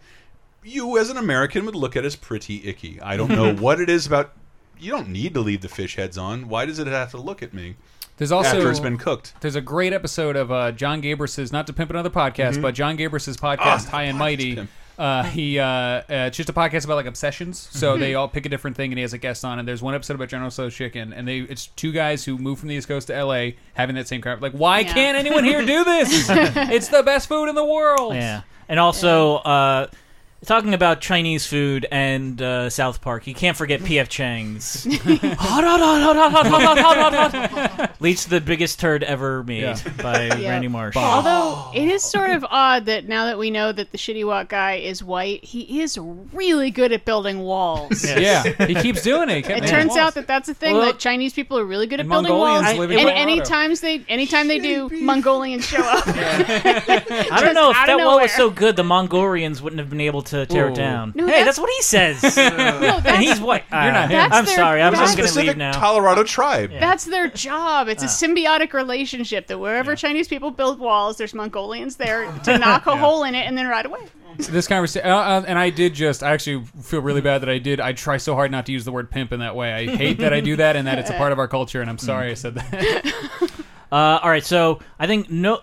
A: You as an American would look at as pretty icky. I don't know what it is about. You don't need to leave the fish heads on. Why does it have to look at me?
C: There's also
A: after it's been cooked.
C: There's a great episode of uh, John Gabris's not to pimp another podcast,
A: Mhm.
C: but John Gabris's
A: Ah,
C: podcast High and Mighty. Uh, he uh, uh, it's just a podcast about like obsessions. So
A: Mhm.
C: they all pick a different thing, and he has a guest on. And there's one episode about General So's chicken, and they it's two guys who moved from the East Coast to L.A. having that same crap. Like, why
B: Yeah.
C: can't anyone here do this? it's the best food in the world.
B: Yeah, and also uh, talking about Chinese food and uh, South Park, you can't forget P.F. Chang's. Hot, hot, hot, hot, hot, hot, hot, hot, hot, hot, hot. Leads to the biggest turd ever made
C: Yeah.
B: by
D: Yeah.
B: Randy Marsh.
D: Although it is sort of odd that now that we know that the shitty walk guy is white, he is really good at building walls.
C: Yeah, he keeps doing it. He kept
D: It
C: making
D: turns
C: walls.
D: out that that's a thing.
C: Well-
D: that Chinese people are really good at
C: And
D: building
C: Mongolians
D: walls,
C: live in
D: and
C: Colorado.
D: any times they, anytime they do, Mongolians show up.
B: I don't know if
D: out
B: that
D: of
B: wall
D: nowhere.
B: was so good, the Mongolians wouldn't have been able to tear it
A: Ooh.
B: down.
D: No,
B: hey, that's, what he says. and he's white.
A: You're not
B: Ah,
A: him.
B: I'm
D: That's their-
B: sorry. I'm
A: There's a
B: just going to
A: specific
B: leave now.
A: Colorado tribe.
D: That's their job.
C: Ah.
D: It's a symbiotic relationship that wherever Chinese people build walls, there's Mongolians there to knock a hole in it and then right away.
C: this conversation, uh, uh, and I did just. I actually feel really bad that I did. I try so hard not to use the word pimp in that way. I hate that I do that, and that it's a part of our culture. And I'm sorry I said that.
B: Uh, all right, so I think no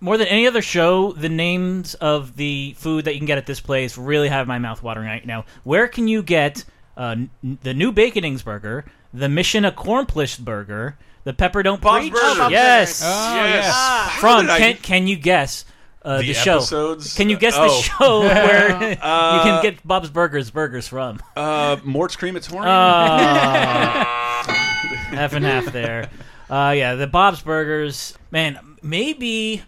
B: more than any other show, the names of the food that you can get at this place really have my mouth watering right now. Where can you get uh, n- the new Baconings burger, the Mission Accomplished burger, the Pepper Don't
A: Bob's
B: Preach?
A: Burgers. Oh, Bob's
B: Yes,
A: Burgers. Oh, Yes. yes. Ah.
B: From
A: How did I-
B: can, can you guess? Uh, the,
A: The
B: show.
A: episodes?
B: Can you guess
A: Oh.
B: the show where you
A: Uh,
B: can get Bob's Burgers burgers from?
A: Uh, Mort's cream. It's horny.
B: Ah. half and half there. Uh, yeah, the Bob's Burgers. Man, maybe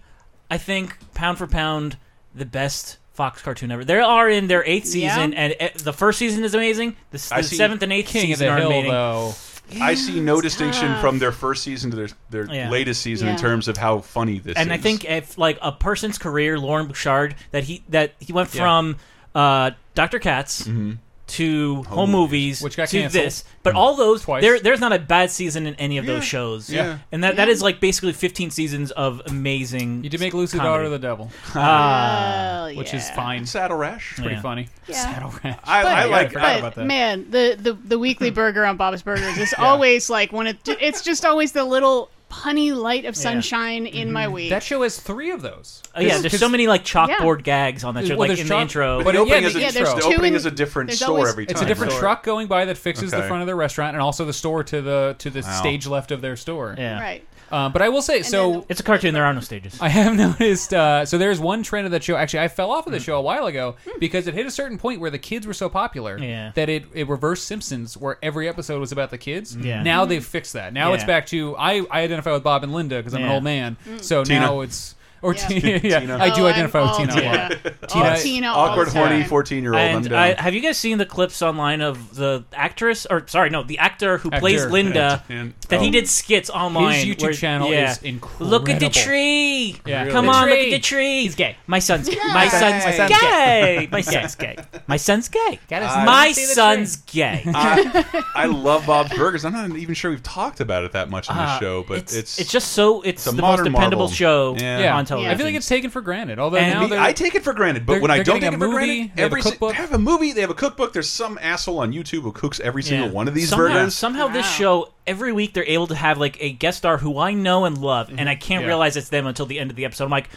B: I think pound for pound the best Fox cartoon ever. They are in their eighth
A: Yeah.
B: season, and uh, the first season is amazing. The, s-
A: I
B: the
A: see
B: seventh and eighth
A: King of
B: season
A: the
B: are
A: Hill,
B: amazing.
A: though. I see no distinction
B: tough.
A: from their first season to their their
B: Yeah.
A: latest season in
B: Yeah.
A: terms of how funny this
B: and
A: is.
B: I think if like a person's career, Lauren Bouchard, that he that he went
A: Yeah.
B: from uh, Doctor Katz
A: Mhm.
B: to Home, Movies,
C: Mm-hmm. Which got
B: to
C: canceled. Mm-hmm.
B: this, but all those
C: Twice.
B: there there's not a bad season in any of
C: Yeah.
B: those shows.
C: Yeah.
B: and that that is like basically 15 seasons of amazing.
C: You did make Lucy
B: comedy.
C: Daughter of the Devil,
B: Ah.
C: which is fine.
A: Saddle Rash, it's
C: pretty
B: Yeah.
C: funny.
D: Yeah.
C: Saddle Rash.
A: I-
D: But-
A: I like-
D: but,
A: I forgot about that.
D: man, the, the the weekly burger on Bob's Burgers is always like when it it's just always the little punny light of sunshine in my week.
C: That show has three of those.
B: Oh, yeah,
C: 'Cause-
B: there's
C: 'cause-
B: so many like chalkboard
C: Yeah.
B: gags on that show,
C: Well,
B: like
C: there's
B: in
C: chalk-
B: the intro.
C: But the opening
A: is a- Yeah, there's the two opening in- is a different there's store always- every
C: It's a
A: time,
C: different
A: right?
C: truck going by that fixes the
A: Okay.
C: front of their restaurant and also the store to the to the
B: Wow.
C: stage left of their store.
B: Yeah.
D: Right.
C: Um, but I will say, so
B: it's a cartoon. There are no stages.
C: I have noticed. Uh, so there's one trend of that show. Actually, I fell off of
A: Mm.
C: the show a while ago
A: Hmm.
C: because it hit a certain point where the kids were so popular
B: Yeah.
C: that it, it reversed Simpsons, where every episode was about the kids.
B: Yeah.
A: Mm-hmm.
C: Now they've fixed that. Now it's
B: Yeah.
C: back to I, I identify with Bob and Linda because I'm an
B: Yeah.
C: old man.
B: Mm.
C: So
A: Tina.
C: now it's or
A: Yeah.
C: Tina. yeah,
A: Tina.
C: I do
A: Oh,
C: identify
A: I'm
C: with Tina.
A: all
C: a lot.
A: Tina. All Tina all Awkward, the time. horny 14-year-old, I'm
B: And
A: down.
B: I- have you guys seen the clips online of the actress, or sorry, no, the actor who
C: Actor.
B: plays Linda?
C: Yeah. And-
B: uh, That he
A: um,
C: oh.
B: did skits online.
C: His YouTube
B: where-
C: channel
B: yeah.
C: is incredible.
B: Look at the tree.
C: Yeah.
B: Come
C: The
B: on, look
C: tree.
B: at the tree. He's gay. My son's gay.
C: My
B: My
C: son's
B: son's
C: gay.
B: gay. My son's gay. My son's gay. My son's gay.
A: I, I love Bob's Burgers. I'm not even sure we've talked about it that much on the
B: Uh,
A: show, but it's
B: it's just so it's
A: a
B: the most
A: modern
B: dependable
A: marvel.
B: show
A: Yeah.
B: on television.
C: I feel like it's taken for granted. Although
A: And
C: now
A: me-
C: they're-
A: I take it for granted, but
C: they're-
A: when I
C: they're
A: don't
C: getting
A: take
C: a
A: it for
C: movie,
A: granted,
C: they have a
A: every si-
C: cookbook.
A: they have a movie, they have a cookbook. There's some asshole on YouTube who cooks every single one of these
B: somehow,
A: burgers.
B: Somehow, this show every week they're able to have like a guest star who I know and love, and I can't
A: Yeah.
B: realize it's them until the end of the episode. I'm like,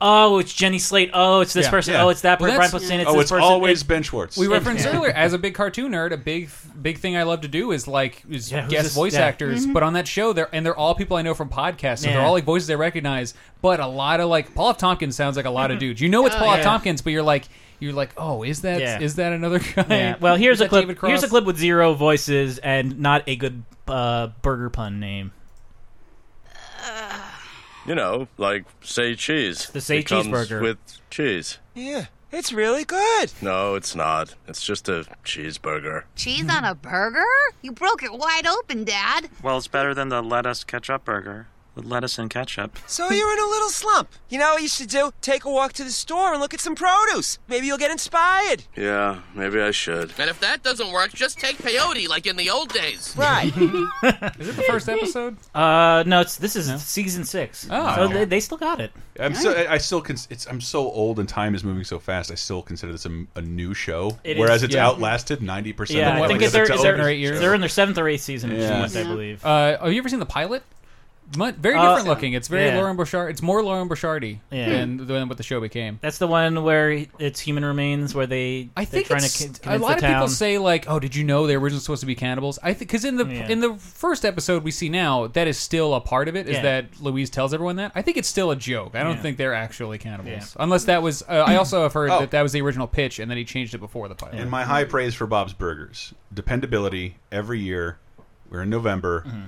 B: oh, it's Jenny Slate. Oh, it's this
C: Yeah.
B: person.
C: Yeah.
B: Oh, it's that
C: Well,
B: person. Brian
C: that's-
B: Posehn. It's
A: oh,
B: this
A: it's
B: person.
A: always
B: It-
A: Ben Schwartz.
C: We referenced earlier as a big cartoon nerd, a big big thing I love to do is like is
B: who's
C: guest
B: this-
C: voice
B: yeah.
C: actors.
B: Mhm.
C: But on that show, they're and they're all people I know from podcasts, so they're
B: Yeah.
C: all like voices I recognize. But a lot of like Paul F. Tompkins sounds like a lot of dudes. You know it's
B: Oh,
C: Paul F.
B: yeah.
C: Tompkins, but you're like you're like, oh, is that is
B: Yeah.
C: that another guy?
B: Yeah. Well, here's
C: Is
B: a
C: that
B: clip.
C: David Cross?
B: Here's a clip with zero voices and not a good uh, burger pun name.
O: You know, like say cheese.
B: the say
O: It comes
B: cheeseburger.
O: with cheese.
R: Yeah, it's really good.
O: No, it's not. It's just a cheeseburger.
S: Cheese on a burger? You broke it wide open, Dad.
U: Well, it's better than the lettuce ketchup burger with lettuce and ketchup.
R: So you're in a little slump. You know what you should do? Take a walk to the store and look at some produce. Maybe you'll get inspired.
O: Yeah, maybe I should.
R: And
S: If that doesn't work, just take peyote like in the old days.
R: Right.
C: Is it the first episode?
B: Uh, no, it's this is season six.
C: Oh.
B: so they, they still got it.
A: I'm so I I still cons- it's I'm so old and time is moving so fast. I still consider this a, a new show,
B: It is,
A: whereas it's
B: yeah.
A: outlasted ninety percent.
B: Yeah,
A: of
B: I
A: what
B: think
A: it
B: it's their,
A: to
B: is their,
A: own a show.
B: they're in their seventh or eighth season, of
A: Yeah.
B: Shameless, I believe.
C: Uh, have you ever seen the pilot? Mu- very
B: Uh,
C: different looking. It's very
B: yeah.
C: Lauren Bouchard. It's more Lauren Bouchardy
B: Yeah.
C: than, than what the show became.
B: That's the one where it's human remains, where they
C: I think
B: they're trying
C: it's-
B: to con-
C: a
B: convince
C: lot
B: the
C: of people
B: town.
C: say like, "Oh, did you know they were originally supposed to be cannibals?" I think because in the
B: Yeah.
C: in the first episode we see now that is still a part of it is
B: Yeah.
C: that Louise tells everyone that. I think it's still a joke. I don't
B: Yeah.
C: think they're actually cannibals,
B: Yeah.
C: unless that was. Uh, I also have heard
A: Oh.
C: that that was the original pitch, and then he changed it before the pilot.
A: And my high praise for Bob's Burgers dependability every year. We're in November.
B: Mm-hmm.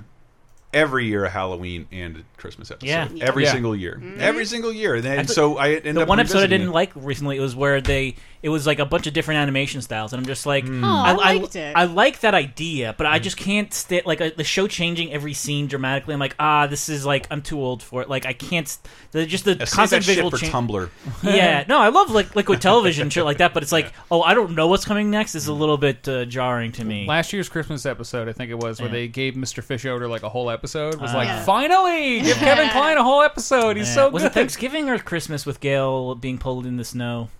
A: Every year, a Halloween and a Christmas episode.
B: Yeah.
A: Every
B: Yeah.
A: single year.
B: Mhm.
A: Every single year. And
B: That's
A: so
B: the-
A: I end
B: the
A: up
B: one episode I
A: revisiting
B: didn't
A: it.
B: like recently was where they it was like a bunch of different animation styles, and I'm just like,
A: Hmm.
D: Oh, I liked it.
B: I like that idea, but I just can't stand like uh the show changing every scene dramatically. I'm like, ah, this is like I'm too old for it. Like I can't st- the, just the
A: Yeah, save
B: constant
A: that shit
B: visual
A: for
B: change.
A: Tumblr.
B: yeah, no, I love like liquid television and shit like that, but it's like, oh, I don't know what's coming next is a
A: Hmm.
B: little bit uh, jarring to me.
C: Last year's Christmas episode, I think it was, where they gave Mr. Fish Odor like a whole episode. Was
B: Ah.
C: like,
B: Yeah.
C: finally, give Kevin Klein a whole episode. He's
B: Yeah.
C: so
B: was
C: good.
B: it Thanksgiving or Christmas with Gail being pulled in the snow?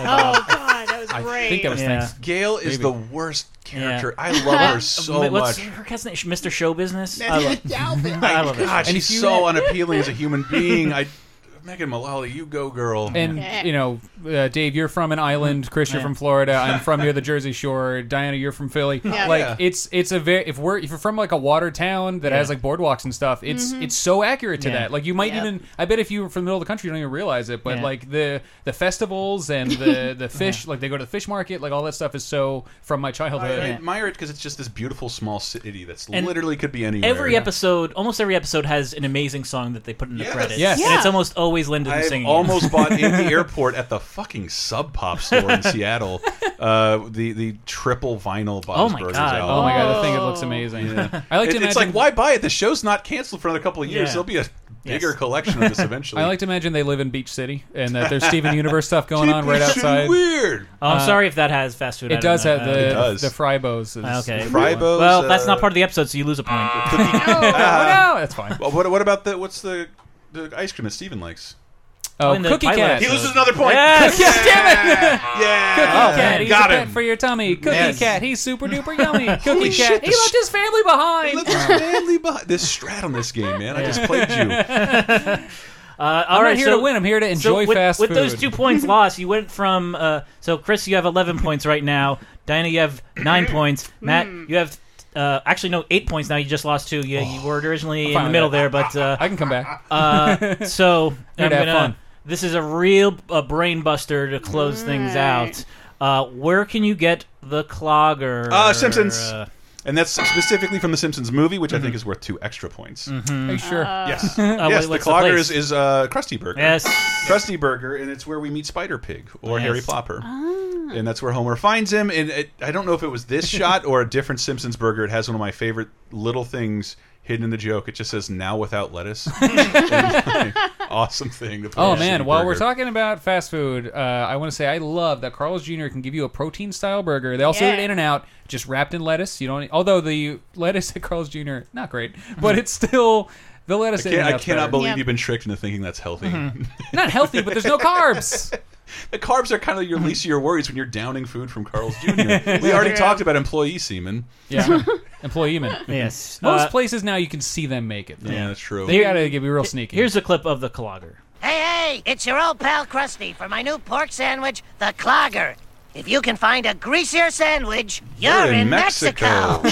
B: Oh
D: God, that was
C: I great. think that was Thanks-
A: Gail is
C: Maybe.
A: the worst character. I love
B: Well,
A: her so
B: wait, what's
A: much.
B: Her cousin, Mr. Show Business.
A: Mr.
B: I love,
A: Galvin.
B: I love it.
A: God, she's so unappealing as a human being. I, Megan Mullally, you go, girl.
C: And you know, uh, Dave, you're from an
A: Mm-hmm.
C: island. Chris, you're from Florida. I'm from here, the Jersey Shore. Diana, you're from Philly.
A: Yeah.
C: Like
A: Yeah.
C: it's it's a very if we're if you're from like a water town that
B: Yeah.
C: has like boardwalks and stuff, it's
A: Mm-hmm.
B: Mhm.
C: it's so accurate to
B: Yeah.
C: that. Like you might
B: Yep.
C: even I bet if you were from the middle of the country, you don't even realize it. But
B: Yeah.
C: like the the festivals and the the fish, like they go to the fish market, like all that stuff is so from my
A: I,
C: childhood.
A: I admire it because it's just this beautiful small city that's
B: And
A: literally could be anywhere.
B: Every episode, almost every episode has an amazing song that they put in the
A: Yes.
B: credits.
A: Yes.
B: And it's
A: Yeah.
B: almost always Lyndon
A: I've
B: singing. it.
A: almost bought in the airport at the fucking Sub Pop store in Seattle. Uh, the the triple vinyl Bob's
B: Oh my
A: Burgers
B: God.
A: album.
B: Oh my God,
C: that thing, it looks amazing.
A: Yeah.
C: I like
A: It-
C: to
A: It's
C: imagine-
A: like why buy it? The show's not canceled for another couple of years.
C: Yeah.
A: There'll be a
C: Yes.
A: bigger collection of this eventually.
C: I like to imagine they live in Beach City and that there's Steven Universe stuff going on right
A: Keep it
C: outside.
A: Weird.
B: Oh, I'm
C: Uh,
B: sorry if that has fast food.
C: It
B: I don't
C: does
B: know.
C: have
B: Uh,
C: the the Fribos.
B: Ah,
C: Is,
B: Okay.
A: Fribos,
B: Well, that's
A: uh, Oh,
B: not part of the episode, so you lose a point.
C: Oh, no, no, that's fine.
A: Well, oh, what what about the what's the the ice cream that Steven likes?
C: Oh, In the Cookie pilot Cat. episode.
A: He loses another point.
C: Yes! Yes, damn
A: it! Yeah.
C: Cookie
A: Oh,
C: Cat, he's
A: got
C: a pet
A: him.
C: for your tummy. Cookie
A: Yes.
C: Cat, he's super duper yummy. Cookie
A: Holy
C: Cat,
A: shit,
C: he
A: the
C: left his family behind.
A: Stanley behind this strat on this game, man. I just played you.
B: Uh, all
C: not
B: right,
C: here
B: so-
C: to win, I'm here to
B: so
C: enjoy
B: with,
C: fast
B: With those
C: food.
B: two points lost, you went from uh, so Chris, you have eleven points right now. Diana, you have nine points. Matt, you have uh, actually no eight points now. You just lost two. You, you were originally in the
C: finally
B: middle
C: back.
B: there, but uh,
C: I can come back.
B: Uh, so
C: Here
B: I'm
C: to have
B: gonna-
C: fun.
B: This is a real uh, brain buster to close things out. Uh, where can you get the clogger?
A: Uh, Simpsons.
B: Uh,
A: and that's specifically from the Simpsons movie, which I
C: Mm-hmm.
A: think is worth two extra points.
B: Mhm.
C: Are you sure? Uh,
A: yes.
B: Uh, wait,
A: yes.
B: what's
A: the
B: the
A: Clogger is,
B: place?
A: is uh, Krusty Burger.
B: Yes.
A: Krusty Burger, and it's where we meet Spider Pig or
B: Yes.
A: Harry Plopper,
C: Ah.
A: and that's where Homer finds him. And it, I don't know if it was this shot or a different Simpsons burger. It has one of my favorite little things hidden in the joke. It just says "Now without lettuce." And, like, awesome thing. To put
C: Oh
A: on a
C: man,
A: shitty
C: while we're
A: burger.
C: talking about fast food, uh, I want to say I love that Carl's Jr. can give you a protein style burger. They also
B: Yeah.
C: did In and Out, e, just wrapped in lettuce. You don't. Although the lettuce at Carl's Jr. not great, but it's still. They'll let us
A: Hmm. I,
C: in.
A: can't, I
C: enough
A: cannot
C: better.
A: believe you've been tricked into thinking that's healthy.
B: Mm-hmm.
C: Not healthy, but there's no carbs.
A: The carbs are kind of your least of your worries when you're downing food from Carl's Jr. we already
C: True.
A: talked about employee semen.
C: Yeah. Employee men.
B: Yes.
C: Most
B: Uh,
C: places now you can see them make it. Though.
A: Yeah, that's true.
C: They gotta get be real sneaky.
B: Here's a clip of the Clogger.
H: Hey, hey, it's your old pal Krusty for my new pork sandwich, the Clogger. If you can find a greasier sandwich, you're
B: We're in
H: in, Mexico.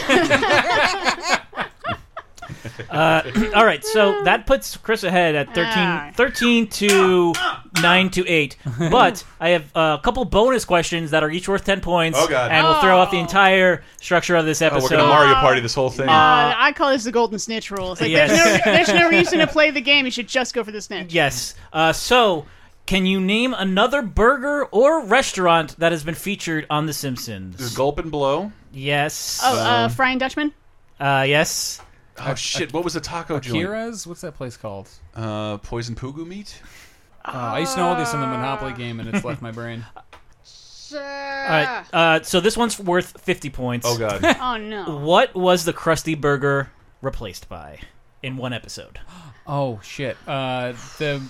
B: Uh, all right, so that puts Chris ahead at 13, 13 to 9 to 8. But I have uh, a couple bonus questions that are each worth 10 points.
A: Oh, God.
B: And we'll throw off the entire structure of this
A: Oh, we're
B: episode.
A: gonna Mario Party this whole thing.
D: Uh, I call this the golden snitch rule. It's like
B: Yes.
D: there's, no, there's no reason to play the game. You should just go for the snitch.
B: yes. Uh, so, can you name another burger or restaurant that has been featured on The Simpsons?
A: Is Gulp and Blow?
B: Yes.
D: Oh,
C: Um,
D: uh, Frying Dutchman.
B: uh, yes.
A: oh shit! What was the taco joint?
C: Akira's? What's that place called?
A: Uh, poison Pugu meat.
C: Oh, I used to know all this in the Monopoly game, and it's left my brain. Uh,
B: All right.
C: Ah.
B: Uh, so this one's worth 50 points.
A: Oh, God.
D: Oh, no.
B: What was the Krusty Burger replaced by in one episode?
C: Oh shit! Uh, the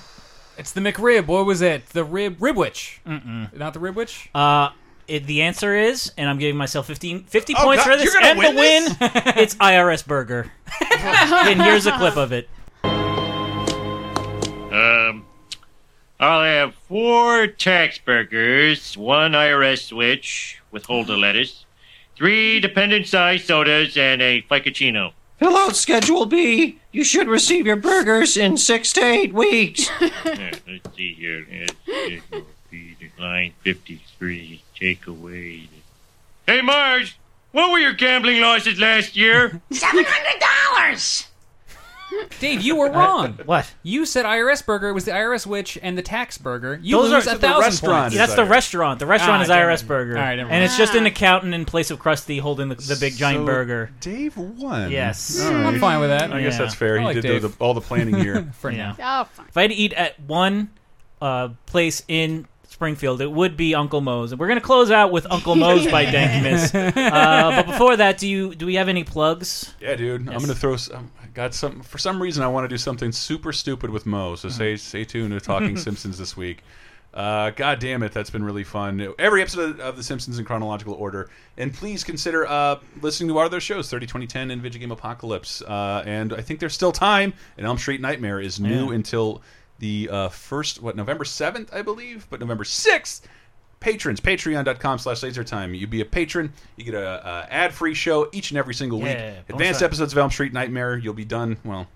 C: it's the McRib. What was it? The rib ribwich. Mm-mm. Not the ribwich.
B: Uh, it, the answer is, and I'm giving myself 15, 50
C: Oh,
B: points
C: God,
B: for this
C: you're gonna
B: and
C: win
B: the win. it's IRS Burger. and here's a clip of it.
F: Um, I'll have four tax burgers, one IRS switch with holder lettuce, three dependent size sodas, and a Ficacino.
K: Hello, Schedule B. You should receive your burgers in six to eight weeks.
F: Yeah, let's see here. Yes, Schedule B, line 53, take away. the- Hey, Marge, what were your gambling losses last year?
S: Seven hundred dollars.
C: Dave, you were wrong.
B: what?
C: You said IRS burger was the IRS witch and the tax burger. You
B: Those
C: lose
B: are-
C: a
B: the
C: thousand
B: restaurant
C: points.
B: is That's the IRS. restaurant. The restaurant
C: Ah,
B: is
C: damn
B: IRS
C: it.
B: Burger.
C: All right, never
B: and
C: mind.
B: it's just an accountant in place of Krusty holding the, the big giant
A: So
B: burger.
A: Dave won.
B: Yes.
A: All right.
C: I'm fine with that.
A: I guess
B: Yeah.
A: that's fair.
B: I
A: He
B: like
A: did the,
B: Dave.
A: all the planning here.
C: For now.
D: Oh, fine.
B: If I had to eat at one uh, place in Springfield, it would be Uncle Moe's. And we're going to close out with Uncle Moe's by Dankness. Uh, but before that, do you do we have any plugs?
A: Yeah, dude. I'm
B: Yes.
A: gonna throw. Some, I got some. For some reason, I want to do something super stupid with Mo.
B: Mm-hmm.
A: So stay stay tuned to Talking Simpsons this week. Uh, God damn it, that's been really fun. Every episode of The Simpsons in chronological order, and please consider uh, listening to our other shows, 30, 2010, and Video Game Apocalypse. Uh, and I think there's still time. And Elm Street Nightmare is new
B: Yeah.
A: until the uh, first, what November seventh, I believe, but November sixth patrons patreon.com slash lasertime you be a patron you get a, uh ad-free show each and every single
B: Yeah,
A: week
B: bonus
A: advanced
B: time.
A: episodes of elm street nightmare you'll be done well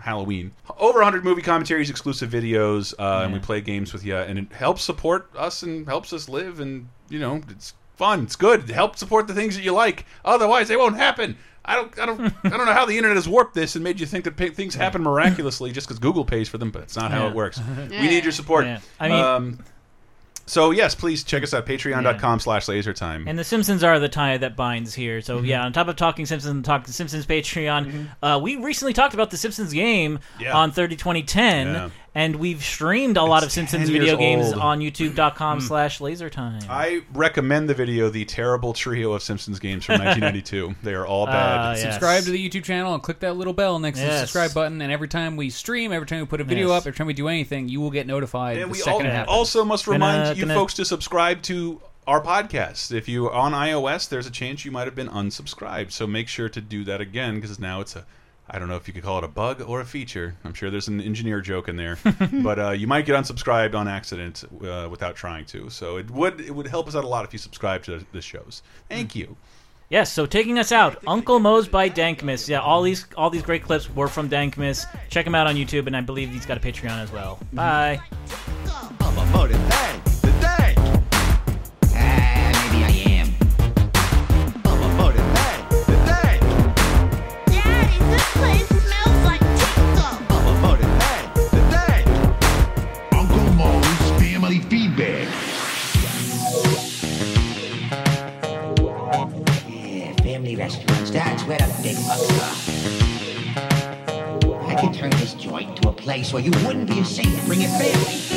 A: halloween over 100 movie commentaries exclusive videos uh, and we play games with you and it helps support us and helps us live and you know it's fun it's good help support the things that you like otherwise they won't happen I don't, I don't, I don't know how the internet has warped this and made you think that pa- things happen miraculously just because Google pays for them, but it's not how
B: Yeah.
A: it works. We need your support.
B: Yeah. I mean-
A: um, so yes, please check us out patreon.com slash lasertime.
B: And the Simpsons are the tie that binds here. So
A: Mm-hmm.
B: yeah, on top of talking Simpsons and talking Simpsons Patreon, uh, we recently talked about the Simpsons game
A: Yeah.
B: on 30 2010,
A: Yeah.
B: and we've streamed a lot of Simpsons
A: 10
B: video
A: years
B: games
A: old. Mm-hmm.
B: on YouTube.com slash LaserTime.
A: I recommend the video, The Terrible Trio of Simpsons Games from 1992. they are all bad.
B: Ah, yes.
C: Subscribe to the YouTube channel and click that little bell next to the
B: Yes.
C: subscribe button. And every time we stream, every time we put a video
B: Yes.
C: up, every time we do anything, you will get notified
A: And
C: the
A: we
C: second
A: al-
C: it happens.
A: also must remind
B: Gonna-
A: you
B: gonna-
A: folks to subscribe to our podcast. If you are on iOS, there's a chance you might have been unsubscribed. So make sure to do that again because now it's a I don't know if you could call it a bug or a feature. I'm sure there's an engineer joke in there, but uh, you might get unsubscribed on accident uh, without trying to. So it would it would help us out a lot if you subscribe to the shows.
B: Hmm.
A: Thank you.
B: Yes, so taking us out, Uncle Moe's by Dankmas. Yeah, all these all these great clips were from Dankmas. Check him out on YouTube, and I believe he's got a Patreon as well. Bye.
P: I'm a motor tank, the tank. Ah, maybe I am. I'm a motor tank, the tank. Daddy, this place smells like tickle. I'm a motor tank, the tank. Uncle Moe's family feedback. Yeah, family restaurants. That's where the big bucks are. I could turn this joint to a place where you wouldn't be ashamed to bring your family.